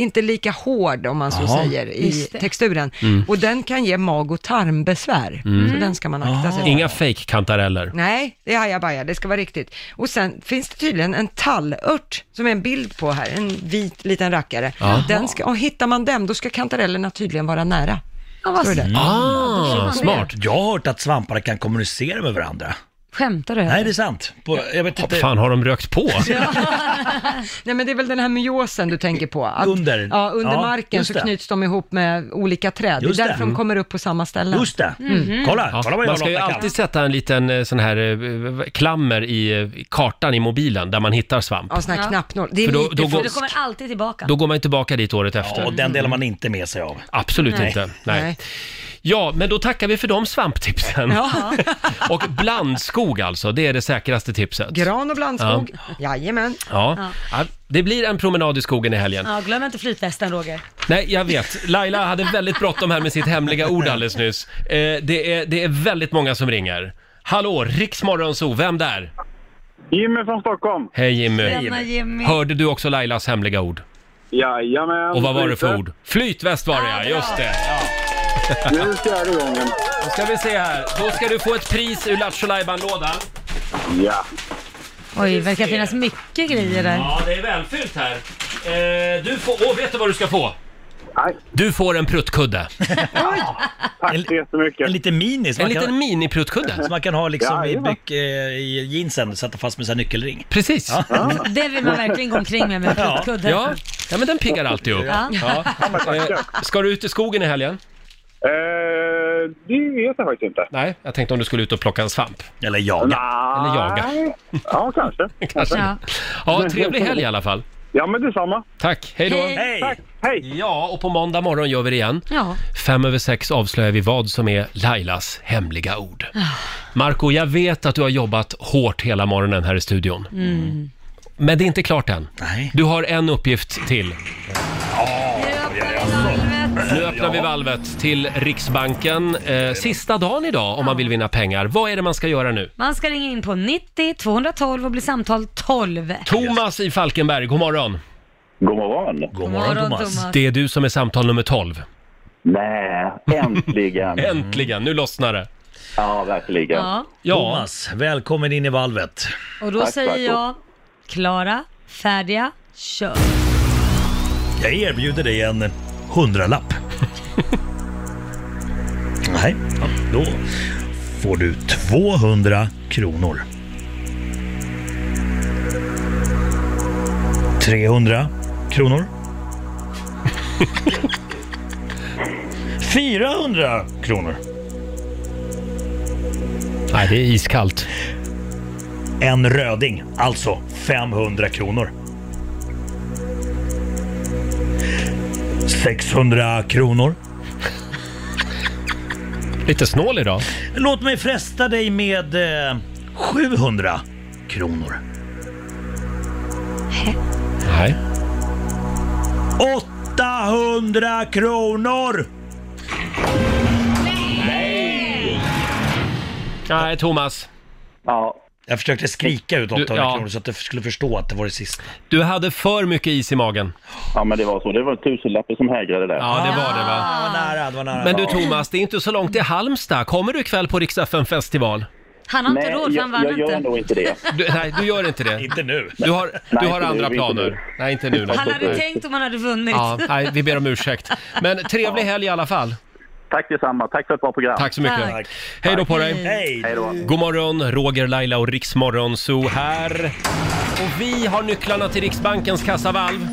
[SPEAKER 3] inte lika hård om man så
[SPEAKER 1] Jaha.
[SPEAKER 3] säger i
[SPEAKER 1] Just det.
[SPEAKER 3] texturen.
[SPEAKER 1] Mm.
[SPEAKER 3] Och den kan ge mag och tarmbesvär,
[SPEAKER 1] Mm.
[SPEAKER 3] så den ska man akta sig för.
[SPEAKER 1] Inga fake-kantareller.
[SPEAKER 3] Nej, det är hajabaja, det ska vara riktigt. Och sen finns det tydligen en tallört som är en bild på här, en vit liten rackare.
[SPEAKER 1] Ja.
[SPEAKER 3] Den ska, och hittar man den, då ska kantarellerna tydligen vara nära.
[SPEAKER 2] vad
[SPEAKER 3] Står det där.
[SPEAKER 8] Ah,
[SPEAKER 2] man smart.
[SPEAKER 8] Jag har hört att svamparna kan kommunicera med varandra.
[SPEAKER 2] Skämtar du?
[SPEAKER 8] Nej, det är sant. På, jag vet inte.
[SPEAKER 1] Fan, har de rökt på?
[SPEAKER 3] Nej men det är väl den här myosen du tänker på? Att,
[SPEAKER 8] Under.
[SPEAKER 3] Ja, under
[SPEAKER 8] Ja,
[SPEAKER 3] marken
[SPEAKER 8] just
[SPEAKER 3] så
[SPEAKER 8] det.
[SPEAKER 3] knyts de ihop med olika träd.
[SPEAKER 1] Just
[SPEAKER 3] det är därför
[SPEAKER 1] det. Mm.
[SPEAKER 3] de kommer upp på samma ställe.
[SPEAKER 8] Just det. Kolla,
[SPEAKER 1] Ja,
[SPEAKER 8] kolla vad
[SPEAKER 1] man
[SPEAKER 8] jag
[SPEAKER 1] ska ju
[SPEAKER 8] Lotta kan.
[SPEAKER 1] alltid sätta en liten eh, sån här eh, klammer i eh, i kartan i mobilen där man hittar svamp.
[SPEAKER 3] Ja, sån här knappnål. Det är
[SPEAKER 1] För då-
[SPEAKER 3] lite
[SPEAKER 1] då går-
[SPEAKER 2] Du kommer alltid tillbaka.
[SPEAKER 1] Då går man ju tillbaka dit året efter.
[SPEAKER 8] och den delar man inte med sig av.
[SPEAKER 1] Absolut
[SPEAKER 2] Nej.
[SPEAKER 1] inte. Nej.
[SPEAKER 2] Nej.
[SPEAKER 1] Ja, men då tackar vi för de svamptipsen. (laughs) och blandskog alltså, det är det säkraste tipset.
[SPEAKER 3] Gran och blandskog. Jajamän.
[SPEAKER 1] Ja. Ja. Ja, det blir en promenad i skogen i helgen.
[SPEAKER 2] Ja, glöm inte flytvästen Roger.
[SPEAKER 1] Nej, jag vet. Laila hade väldigt bråttom här med sitt hemliga ord alldeles nyss. Eh, det, är, det är väldigt många som ringer. Hallå, Riksmorgonzoo, vem där?
[SPEAKER 18] Jimmy från Stockholm.
[SPEAKER 1] Hej Jimmy.
[SPEAKER 18] Tjena, Jimmy.
[SPEAKER 1] Hörde du också Lailas hemliga ord?
[SPEAKER 18] Jajamän.
[SPEAKER 1] Och vad var det för
[SPEAKER 18] Lite.
[SPEAKER 1] ord? Flytväst var det ja, just det.
[SPEAKER 18] Nu är det fjärde gången.
[SPEAKER 1] Då ska vi se här. Då ska du få ett pris ur Lattjo lådan
[SPEAKER 18] Ja.
[SPEAKER 2] Oj, det verkar finnas mycket grejer där.
[SPEAKER 1] Ja, det är välfyllt här. Eh, du får... Åh, vet du vad du ska få? Du får en pruttkudde.
[SPEAKER 18] Tack så jättemycket.
[SPEAKER 8] En liten mini. som
[SPEAKER 1] En
[SPEAKER 8] man kan-
[SPEAKER 1] liten minipruttkuddel.
[SPEAKER 8] Som man kan ha liksom i,
[SPEAKER 1] Jajamän.
[SPEAKER 8] byck, eh, i jeansen, sätta fast med en nyckelring.
[SPEAKER 1] Precis.
[SPEAKER 2] Det vill man verkligen gå omkring med, med pruttkudde.
[SPEAKER 1] Ja. ja, men den piggar alltid upp.
[SPEAKER 2] Ja.
[SPEAKER 1] Ja. Eh, Ska du ut i skogen i helgen?
[SPEAKER 18] Eh, det vet jag faktiskt inte.
[SPEAKER 1] Nej, jag tänkte om du skulle ut och plocka en svamp.
[SPEAKER 8] Eller jaga.
[SPEAKER 1] Eller jaga.
[SPEAKER 18] Nej. Ja, kanske.
[SPEAKER 1] Kanske. Ja. Ja, trevlig helg i alla fall.
[SPEAKER 18] Ja, men detsamma.
[SPEAKER 1] Tack, hej då.
[SPEAKER 18] Hej. Hej. Tack,
[SPEAKER 1] hej. Ja, och på måndag morgon gör vi det igen.
[SPEAKER 2] Ja.
[SPEAKER 1] Fem över sex avslöjar vi vad som är Lailas hemliga ord. Marco, jag vet att du har jobbat hårt hela morgonen här i studion.
[SPEAKER 2] Mm.
[SPEAKER 1] Men det är inte klart än. Du har en uppgift till. Nu öppnar vi valvet till Riksbanken. Eh, sista dagen idag om man vill vinna pengar. Vad är det man ska göra nu?
[SPEAKER 2] Man ska ringa in på 90 212 och bli samtal 12.
[SPEAKER 1] Thomas i Falkenberg, god morgon.
[SPEAKER 19] God morgon.
[SPEAKER 8] God
[SPEAKER 2] morgon, Thomas. Thomas.
[SPEAKER 1] Det är du som är samtal nummer 12.
[SPEAKER 19] Nej, äntligen.
[SPEAKER 1] äntligen, nu lossnar det.
[SPEAKER 19] Ja, verkligen.
[SPEAKER 2] Ja.
[SPEAKER 8] Thomas, välkommen in i valvet.
[SPEAKER 2] Och då säger jag klara, färdiga, kör.
[SPEAKER 8] Jag erbjuder dig en hundralapp. Nej, ja, då får du 200 kronor. 300 kronor. 400 kronor.
[SPEAKER 1] Nej, det är iskallt.
[SPEAKER 8] En röding, alltså 500 kronor. 600 kronor.
[SPEAKER 1] Lite snål idag.
[SPEAKER 8] Låt mig fresta dig med eh, 700 kronor.
[SPEAKER 1] Nej.
[SPEAKER 8] 800 kronor!
[SPEAKER 1] Nej, Thomas.
[SPEAKER 19] Ja.
[SPEAKER 8] Jag försökte skrika ut 800
[SPEAKER 1] Du- ja.
[SPEAKER 8] kronor så att du skulle förstå att det var det sista.
[SPEAKER 1] Du hade för mycket is i magen.
[SPEAKER 19] Ja, men det var så. Det var en tusenlappe som hägrade där.
[SPEAKER 1] Ja, det var det va?
[SPEAKER 8] var nära, det var nära.
[SPEAKER 1] Men du Thomas, det är inte så långt till Halmstad. Kommer du ikväll på Rix FM festival?
[SPEAKER 2] Han har inte
[SPEAKER 19] Nej,
[SPEAKER 2] råd för
[SPEAKER 19] jag-
[SPEAKER 2] han vann
[SPEAKER 19] jag
[SPEAKER 2] inte.
[SPEAKER 19] gör nog inte det.
[SPEAKER 1] Du, nej, du gör inte det.
[SPEAKER 8] Inte nu.
[SPEAKER 1] Du har, du
[SPEAKER 19] Nej,
[SPEAKER 1] har
[SPEAKER 19] inte nu,
[SPEAKER 1] andra
[SPEAKER 19] inte
[SPEAKER 1] planer.
[SPEAKER 19] nu.
[SPEAKER 1] Nej, inte nu. Nej.
[SPEAKER 2] Han hade tänkt om han hade vunnit. (laughs)
[SPEAKER 1] Ja, nej, vi ber om ursäkt. Men trevlig helg i alla fall.
[SPEAKER 19] (laughs) Tack detsamma. Tack för ett bra program.
[SPEAKER 1] Tack så mycket.
[SPEAKER 19] Tack.
[SPEAKER 1] Hej då på dig.
[SPEAKER 8] Hej.
[SPEAKER 1] God morgon, Roger, Laila och Riksmorgon Zoo här. Och vi har nycklarna till Riksbankens kassavalv.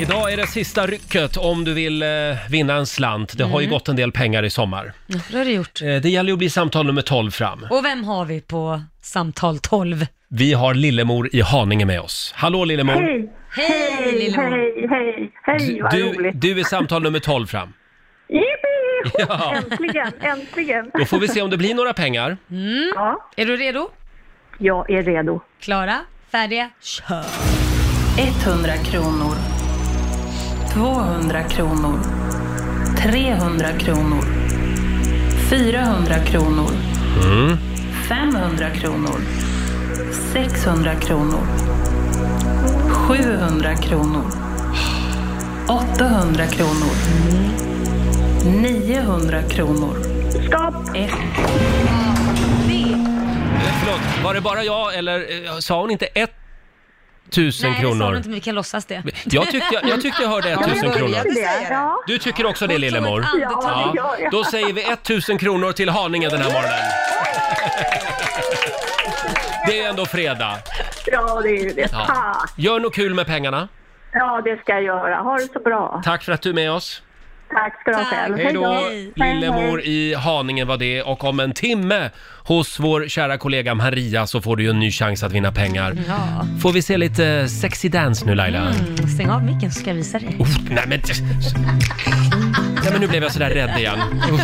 [SPEAKER 1] Idag är det sista rycket om du vill eh, vinna en slant. Det har ju
[SPEAKER 2] Mm.
[SPEAKER 1] gått en del pengar i sommar.
[SPEAKER 2] Ja, det har du gjort.
[SPEAKER 1] Eh, Det gäller ju att bli samtal nummer 12 fram.
[SPEAKER 2] Och vem har vi på samtal 12?
[SPEAKER 1] Vi har Lillemor i Haninge med oss. Hallå Lillemor!
[SPEAKER 13] Hej! Hej, hej, hej, hej, vad
[SPEAKER 1] Du,
[SPEAKER 13] roligt.
[SPEAKER 1] du är samtal nummer 12 fram.
[SPEAKER 13] Jippi!
[SPEAKER 1] Ja.
[SPEAKER 13] Äntligen, äntligen.
[SPEAKER 1] Då får vi se om det blir några pengar.
[SPEAKER 2] Mm. Är du redo?
[SPEAKER 7] Jag är redo.
[SPEAKER 2] Klara, färdiga, kör!
[SPEAKER 7] 100 kronor. 200 kronor. 300 kronor. 400 kronor. 500 kronor. 600 kronor. 700 kronor. 800 kronor. 900 kronor. Stopp!
[SPEAKER 1] Eh, Förlåt, var det bara jag eller eh, sa hon inte 1000
[SPEAKER 2] Nej, det sa
[SPEAKER 1] kronor?
[SPEAKER 2] du inte, men vi kan låtsas det.
[SPEAKER 1] Jag tyckte jag, jag, tyckte jag hörde 1000 kronor.
[SPEAKER 13] Ja.
[SPEAKER 1] Du tycker också
[SPEAKER 2] (laughs)
[SPEAKER 1] det Lillemor?
[SPEAKER 13] ett andetag. Ja, det gör jag.
[SPEAKER 1] Då säger vi 1000 kronor till Haninge den här
[SPEAKER 13] (laughs)
[SPEAKER 1] morgonen. Det är ändå fredag.
[SPEAKER 13] ja, det är ju det.
[SPEAKER 1] Ja.
[SPEAKER 13] Ja.
[SPEAKER 1] Gör något kul med pengarna.
[SPEAKER 13] ja, det ska jag göra. Ha det så bra.
[SPEAKER 1] Tack för att du är med oss.
[SPEAKER 13] Tack ska du ha själv.
[SPEAKER 1] Hej då!
[SPEAKER 13] Hej,
[SPEAKER 1] Lillemor
[SPEAKER 13] hej.
[SPEAKER 1] i Haninge var det och om en timme hos vår kära kollega Maria så får du ju en ny chans att vinna pengar.
[SPEAKER 2] Ja.
[SPEAKER 1] Får vi se lite eh, sexy dance nu Laila?
[SPEAKER 2] Mm, stäng av micken så ska jag visa dig.
[SPEAKER 1] Uff, nej men... Nej men nu blev jag sådär rädd igen. Uff.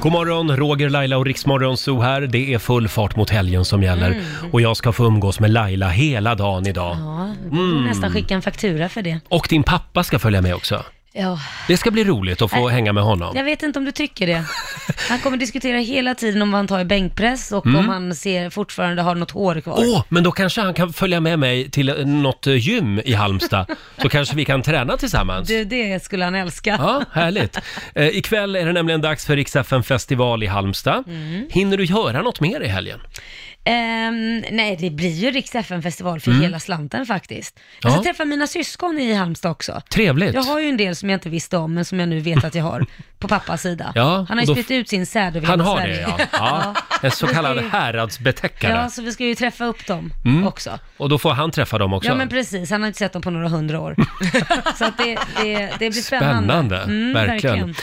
[SPEAKER 1] God morgon, Roger, Laila och Riksmorgon Zoo här. Det är full fart mot helgen som gäller
[SPEAKER 2] Mm.
[SPEAKER 1] och jag ska få umgås med Laila hela dagen idag.
[SPEAKER 2] Ja, du
[SPEAKER 1] Mm.
[SPEAKER 2] nästan skicka en faktura för det.
[SPEAKER 1] Och din pappa ska följa med också.
[SPEAKER 2] Ja.
[SPEAKER 1] Det ska bli roligt att få
[SPEAKER 2] Nej.
[SPEAKER 1] hänga med honom.
[SPEAKER 2] Jag vet inte om du tycker det. Han kommer diskutera hela tiden om vad han tar i bänkpress och
[SPEAKER 1] Mm. Oh.
[SPEAKER 2] om han ser fortfarande har något hår kvar.
[SPEAKER 1] Åh, men då kanske han kan följa med mig till eh, något eh, gym i Halmstad.
[SPEAKER 2] (laughs)
[SPEAKER 1] Så kanske vi kan träna tillsammans.
[SPEAKER 2] Du, det skulle han älska.
[SPEAKER 1] Ja, härligt. Eh, ikväll är det nämligen dags för Rix FM festival i Halmstad.
[SPEAKER 2] Mm.
[SPEAKER 1] Hinner du göra något mer i helgen?
[SPEAKER 2] Ehm, nej, det blir ju Rix FN-festival för
[SPEAKER 1] Mm.
[SPEAKER 2] hela slanten faktiskt.
[SPEAKER 1] Ja.
[SPEAKER 2] Jag ska träffa mina syskon i Halmstad också.
[SPEAKER 1] Trevligt.
[SPEAKER 2] Jag har ju en del som jag inte visste om, men som jag nu vet att
[SPEAKER 1] (laughs)
[SPEAKER 2] jag har på pappas sida.
[SPEAKER 1] Ja,
[SPEAKER 2] han har
[SPEAKER 1] och
[SPEAKER 2] ju
[SPEAKER 1] då-
[SPEAKER 2] spritt ut sin säd över
[SPEAKER 1] Han
[SPEAKER 2] hela
[SPEAKER 1] har det
[SPEAKER 2] Sverige.
[SPEAKER 1] ja.
[SPEAKER 2] (laughs)
[SPEAKER 1] ja. En så kallad
[SPEAKER 2] Ja,
[SPEAKER 1] häradsbetäckare.
[SPEAKER 2] så vi ska ju träffa upp dem
[SPEAKER 1] Mm.
[SPEAKER 2] också.
[SPEAKER 1] Och då får han träffa dem också.
[SPEAKER 2] Ja men precis, han har inte sett dem på några
[SPEAKER 1] (laughs)
[SPEAKER 2] hundra år. (laughs) så att det, det, det blir spännande.
[SPEAKER 1] Spännande,
[SPEAKER 2] Mm,
[SPEAKER 1] verkligen.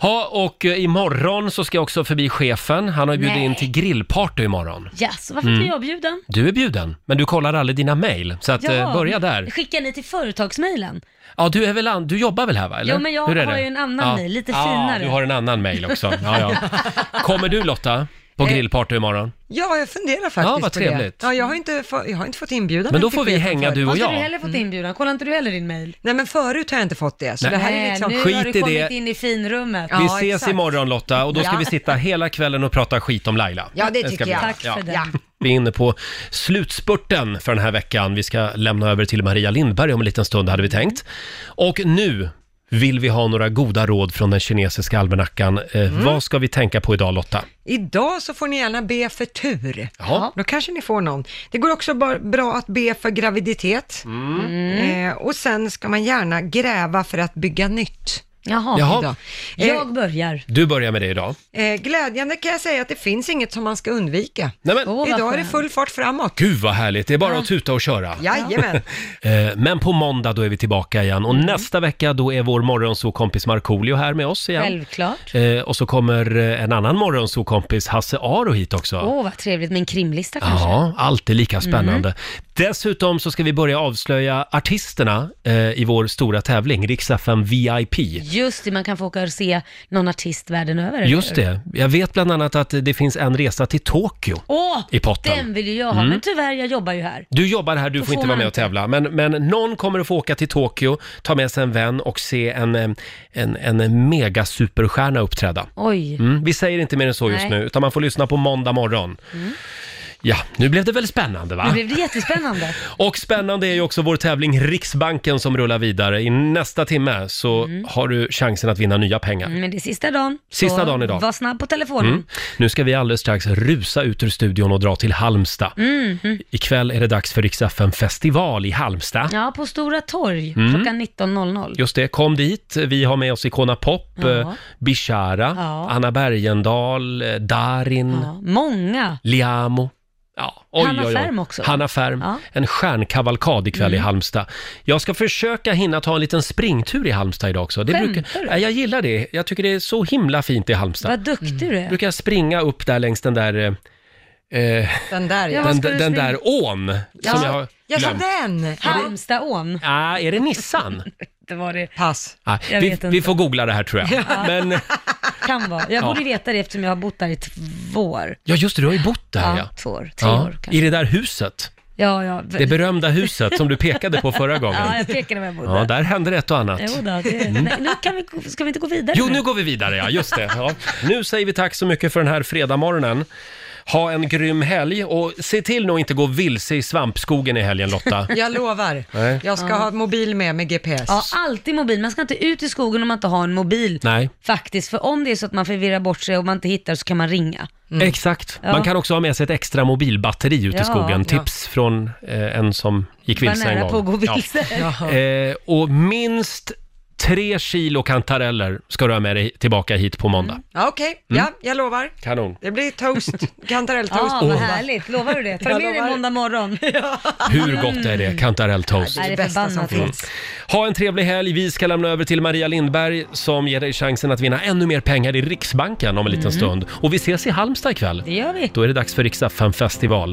[SPEAKER 1] Ja, och eh, imorgon så ska jag också förbi chefen. Han har ju bjudit
[SPEAKER 2] Nej.
[SPEAKER 1] in till grillparty imorgon.
[SPEAKER 2] Ja, så varför
[SPEAKER 1] Mm.
[SPEAKER 2] blir jag bjuden?
[SPEAKER 1] Du är bjuden, men du kollar aldrig dina mejl, så att eh, börja där.
[SPEAKER 2] Skickar ni till företagsmailen?
[SPEAKER 1] Ja, du, är väl an... du jobbar väl här va? Eller?
[SPEAKER 2] Ja, men jag
[SPEAKER 1] Hur är
[SPEAKER 2] har
[SPEAKER 1] det?
[SPEAKER 2] ju en annan mejl, lite
[SPEAKER 1] ja,
[SPEAKER 2] finare.
[SPEAKER 1] du har en annan mejl också. Ja, ja.
[SPEAKER 2] (laughs)
[SPEAKER 1] Kommer du Lotta på
[SPEAKER 2] Eh.
[SPEAKER 1] grillparty imorgon?
[SPEAKER 3] Ja, jag funderar faktiskt
[SPEAKER 1] Ja, vad
[SPEAKER 3] på det.
[SPEAKER 1] trevligt.
[SPEAKER 3] Ja, jag har inte, få, jag har inte fått inbjudan.
[SPEAKER 1] Men då
[SPEAKER 3] till
[SPEAKER 1] får vi
[SPEAKER 3] chefen
[SPEAKER 1] hänga,
[SPEAKER 3] förut.
[SPEAKER 1] du och Har inte jag. Mm. du
[SPEAKER 2] heller fått inbjudan? Kollar inte du heller din mail?
[SPEAKER 3] Nej, men förut har jag inte fått det, så
[SPEAKER 1] Nej.
[SPEAKER 3] det här är
[SPEAKER 2] Nej,
[SPEAKER 3] liksom...
[SPEAKER 2] nu har du kommit in i finrummet.
[SPEAKER 1] vi ses imorgon Lotta och då ska
[SPEAKER 2] Ja.
[SPEAKER 1] vi sitta hela kvällen och prata skit om Laila.
[SPEAKER 2] Ja, det
[SPEAKER 1] ska
[SPEAKER 2] tycker
[SPEAKER 1] bli
[SPEAKER 2] jag.
[SPEAKER 1] bra.
[SPEAKER 2] Tack för det.
[SPEAKER 1] Vi är inne på slutspurten för den här veckan. Vi ska lämna över till Maria Lindberg om en liten stund hade vi tänkt. Och nu vill vi ha några goda råd från den kinesiska almanackan. Eh,
[SPEAKER 2] Mm.
[SPEAKER 1] Vad ska vi tänka på idag Lotta?
[SPEAKER 3] Idag så får ni gärna be för tur. Då kanske ni får någon. Det går också bara bra att be för graviditet.
[SPEAKER 1] Mm.
[SPEAKER 3] Eh, och sen ska man gärna gräva för att bygga nytt.
[SPEAKER 2] Jaha.
[SPEAKER 1] Jaha.
[SPEAKER 3] Idag.
[SPEAKER 2] Jag börjar.
[SPEAKER 1] Du börjar med det idag.
[SPEAKER 3] Eh, glädjande kan jag säga att det finns inget som man ska undvika.
[SPEAKER 1] Nej, men- Åh, vad
[SPEAKER 3] Idag är det
[SPEAKER 1] skönt.
[SPEAKER 3] full fart framåt.
[SPEAKER 1] Gud vad härligt, det är bara att tuta och köra.
[SPEAKER 3] Jajamän.
[SPEAKER 1] (laughs) Eh, Men på måndag då är vi tillbaka igen
[SPEAKER 2] Mm.
[SPEAKER 1] och nästa vecka då är vår morgonsokompis Markoolio här med oss igen.
[SPEAKER 2] Självklart.
[SPEAKER 1] Eh, Och så kommer eh, en annan morgonsokompis, Hasse Aro, hit också.
[SPEAKER 2] Åh, vad trevligt med en krimlista kanske. Mm.
[SPEAKER 1] Ja, alltid lika spännande. Dessutom så ska vi börja avslöja artisterna eh, i vår stora tävling, Rix FM VIP.
[SPEAKER 2] Just det, man kan få åka och se någon artist världen över. eller
[SPEAKER 1] Just
[SPEAKER 2] hur?
[SPEAKER 1] det. Jag vet bland annat att det finns en resa till Tokyo
[SPEAKER 2] Åh,
[SPEAKER 1] i potten.
[SPEAKER 2] den vill ju jag ha,
[SPEAKER 1] Mm.
[SPEAKER 2] men tyvärr, jag jobbar ju här.
[SPEAKER 1] Du jobbar här, du
[SPEAKER 2] Då
[SPEAKER 1] får inte
[SPEAKER 2] får
[SPEAKER 1] vara
[SPEAKER 2] man
[SPEAKER 1] med och
[SPEAKER 2] inte.
[SPEAKER 1] tävla. Men, men någon kommer att få åka till Tokyo, ta med sig en vän och se en, eh, en, en megasuperstjärna uppträda.
[SPEAKER 2] Oj.
[SPEAKER 1] Mm, vi säger inte mer än så just
[SPEAKER 2] Nej. Mm.
[SPEAKER 1] nu, utan man får lyssna på måndag morgon. Ja, nu blev det väl spännande va?
[SPEAKER 2] Nu blev det jättespännande.
[SPEAKER 1] Och spännande är ju också vår tävling Riksbanken som rullar vidare. I nästa timme så
[SPEAKER 2] Mm.
[SPEAKER 1] har du chansen att vinna nya pengar.
[SPEAKER 2] Men det är sista dagen.
[SPEAKER 1] Sista
[SPEAKER 2] så
[SPEAKER 1] dagen idag.
[SPEAKER 2] Var snabb på telefonen.
[SPEAKER 1] Mm. Nu ska vi alldeles strax rusa ut ur studion och dra till Halmstad.
[SPEAKER 2] Mm. mm.
[SPEAKER 1] Ikväll är det dags för Rix FM festival i Halmstad.
[SPEAKER 2] Ja, på Stora Torg
[SPEAKER 1] Mm.
[SPEAKER 2] klockan 19.00.
[SPEAKER 1] Just det, kom dit. Vi har med oss Icona Pop,
[SPEAKER 2] Ja.
[SPEAKER 1] eh, Bishara,
[SPEAKER 2] Ja.
[SPEAKER 1] Anna Bergendahl, eh, Darin,
[SPEAKER 2] Många.
[SPEAKER 1] Liamo. Ja, oj,
[SPEAKER 2] Hanna
[SPEAKER 1] oj, oj.
[SPEAKER 2] Ferm också.
[SPEAKER 1] Hanna Ferm.
[SPEAKER 2] Ja.
[SPEAKER 1] En stjärnkavalkad ikväll i
[SPEAKER 2] Mm.
[SPEAKER 1] Halmstad. Jag ska försöka hinna ta en liten springtur i Halmstad idag också. Det
[SPEAKER 2] Skämtar
[SPEAKER 1] brukar,
[SPEAKER 2] du?
[SPEAKER 1] Nej, jag gillar det. Jag tycker det är så himla fint i Halmstad. Mm.
[SPEAKER 2] Vad duktig du är.
[SPEAKER 1] Brukar jag springa upp där längs den där eh, Eh,
[SPEAKER 3] Den där ja.
[SPEAKER 1] den, den där ån som jag har
[SPEAKER 3] jag sa
[SPEAKER 1] glömt.
[SPEAKER 3] den.
[SPEAKER 2] Halmstaån.
[SPEAKER 1] Ah, är det
[SPEAKER 2] (laughs)
[SPEAKER 1] Nissan?
[SPEAKER 2] Det var det.
[SPEAKER 3] Pass.
[SPEAKER 1] Ah,
[SPEAKER 2] Jag
[SPEAKER 1] vi,
[SPEAKER 2] vet inte.
[SPEAKER 1] vi får googla det här tror jag.
[SPEAKER 2] (laughs) Ja.
[SPEAKER 1] Men,
[SPEAKER 2] Kan vara. Jag
[SPEAKER 1] Ja.
[SPEAKER 2] borde veta det eftersom jag har bott där i två år.
[SPEAKER 1] ja just det, du har ju bott där
[SPEAKER 2] Ja,
[SPEAKER 1] ja.
[SPEAKER 2] två år, tre år
[SPEAKER 1] I det där huset.
[SPEAKER 2] Ja, ja.
[SPEAKER 1] Det berömda huset som du pekade på förra gången.
[SPEAKER 2] (laughs) Ja, jag pekade var jag bodde.
[SPEAKER 1] Ja, där hände det ett och annat.
[SPEAKER 2] Jo, då, det,
[SPEAKER 1] Mm.
[SPEAKER 2] nej, nu kan vi, gå- ska vi inte gå vidare?
[SPEAKER 1] Jo, nu går vi vidare, ja. Just det. Ja. Nu säger vi tack så mycket för den här fredagmorgonen. Ha en grym helg och se till nu att inte gå vilse i svampskogen i helgen
[SPEAKER 2] (laughs)
[SPEAKER 1] Lotta.
[SPEAKER 3] Jag lovar.
[SPEAKER 1] Nej.
[SPEAKER 3] Jag ska
[SPEAKER 2] Ja.
[SPEAKER 3] ha mobil med med GPS.
[SPEAKER 2] Ja, alltid mobil. Man ska inte ut i skogen om man inte har en mobil.
[SPEAKER 1] Nej.
[SPEAKER 2] Faktiskt, för om det är så att man förvirrar bort sig och man inte hittar så kan man ringa.
[SPEAKER 1] Exakt.
[SPEAKER 2] Mm. Ja.
[SPEAKER 1] Man kan också ha med sig ett extra mobilbatteri ute
[SPEAKER 2] Ja.
[SPEAKER 1] i skogen.
[SPEAKER 2] Ja.
[SPEAKER 1] Tips från eh, en som gick
[SPEAKER 2] Var
[SPEAKER 1] vilse en
[SPEAKER 2] nära
[SPEAKER 1] gång.
[SPEAKER 2] på att gå vilse.
[SPEAKER 1] Ja.
[SPEAKER 2] Jaha.
[SPEAKER 1] (laughs) Eh, och minst tre kilo kantareller ska du ha med dig tillbaka hit på måndag.
[SPEAKER 2] Mm.
[SPEAKER 3] Ja, Okej,
[SPEAKER 1] Mm.
[SPEAKER 3] ja, jag lovar.
[SPEAKER 1] Kanon.
[SPEAKER 3] Det blir toast, kantarelltoast.
[SPEAKER 2] Ja, vad härligt. Lovar du det? Ta
[SPEAKER 3] Jag
[SPEAKER 2] med dig
[SPEAKER 3] lovar.
[SPEAKER 2] måndag morgon.
[SPEAKER 1] Hur gott är det? Kantarelltoast.
[SPEAKER 2] Ja, det är det bästa som
[SPEAKER 1] Mm.
[SPEAKER 2] finns.
[SPEAKER 1] Ha en trevlig helg. Vi ska lämna över till Maria Lindberg som ger dig chansen att vinna ännu mer pengar i Riksbanken om en liten
[SPEAKER 2] Mm.
[SPEAKER 1] stund. Och vi ses i Halmstad ikväll.
[SPEAKER 2] Det gör vi.
[SPEAKER 1] Då är det dags för Riksdagen festival.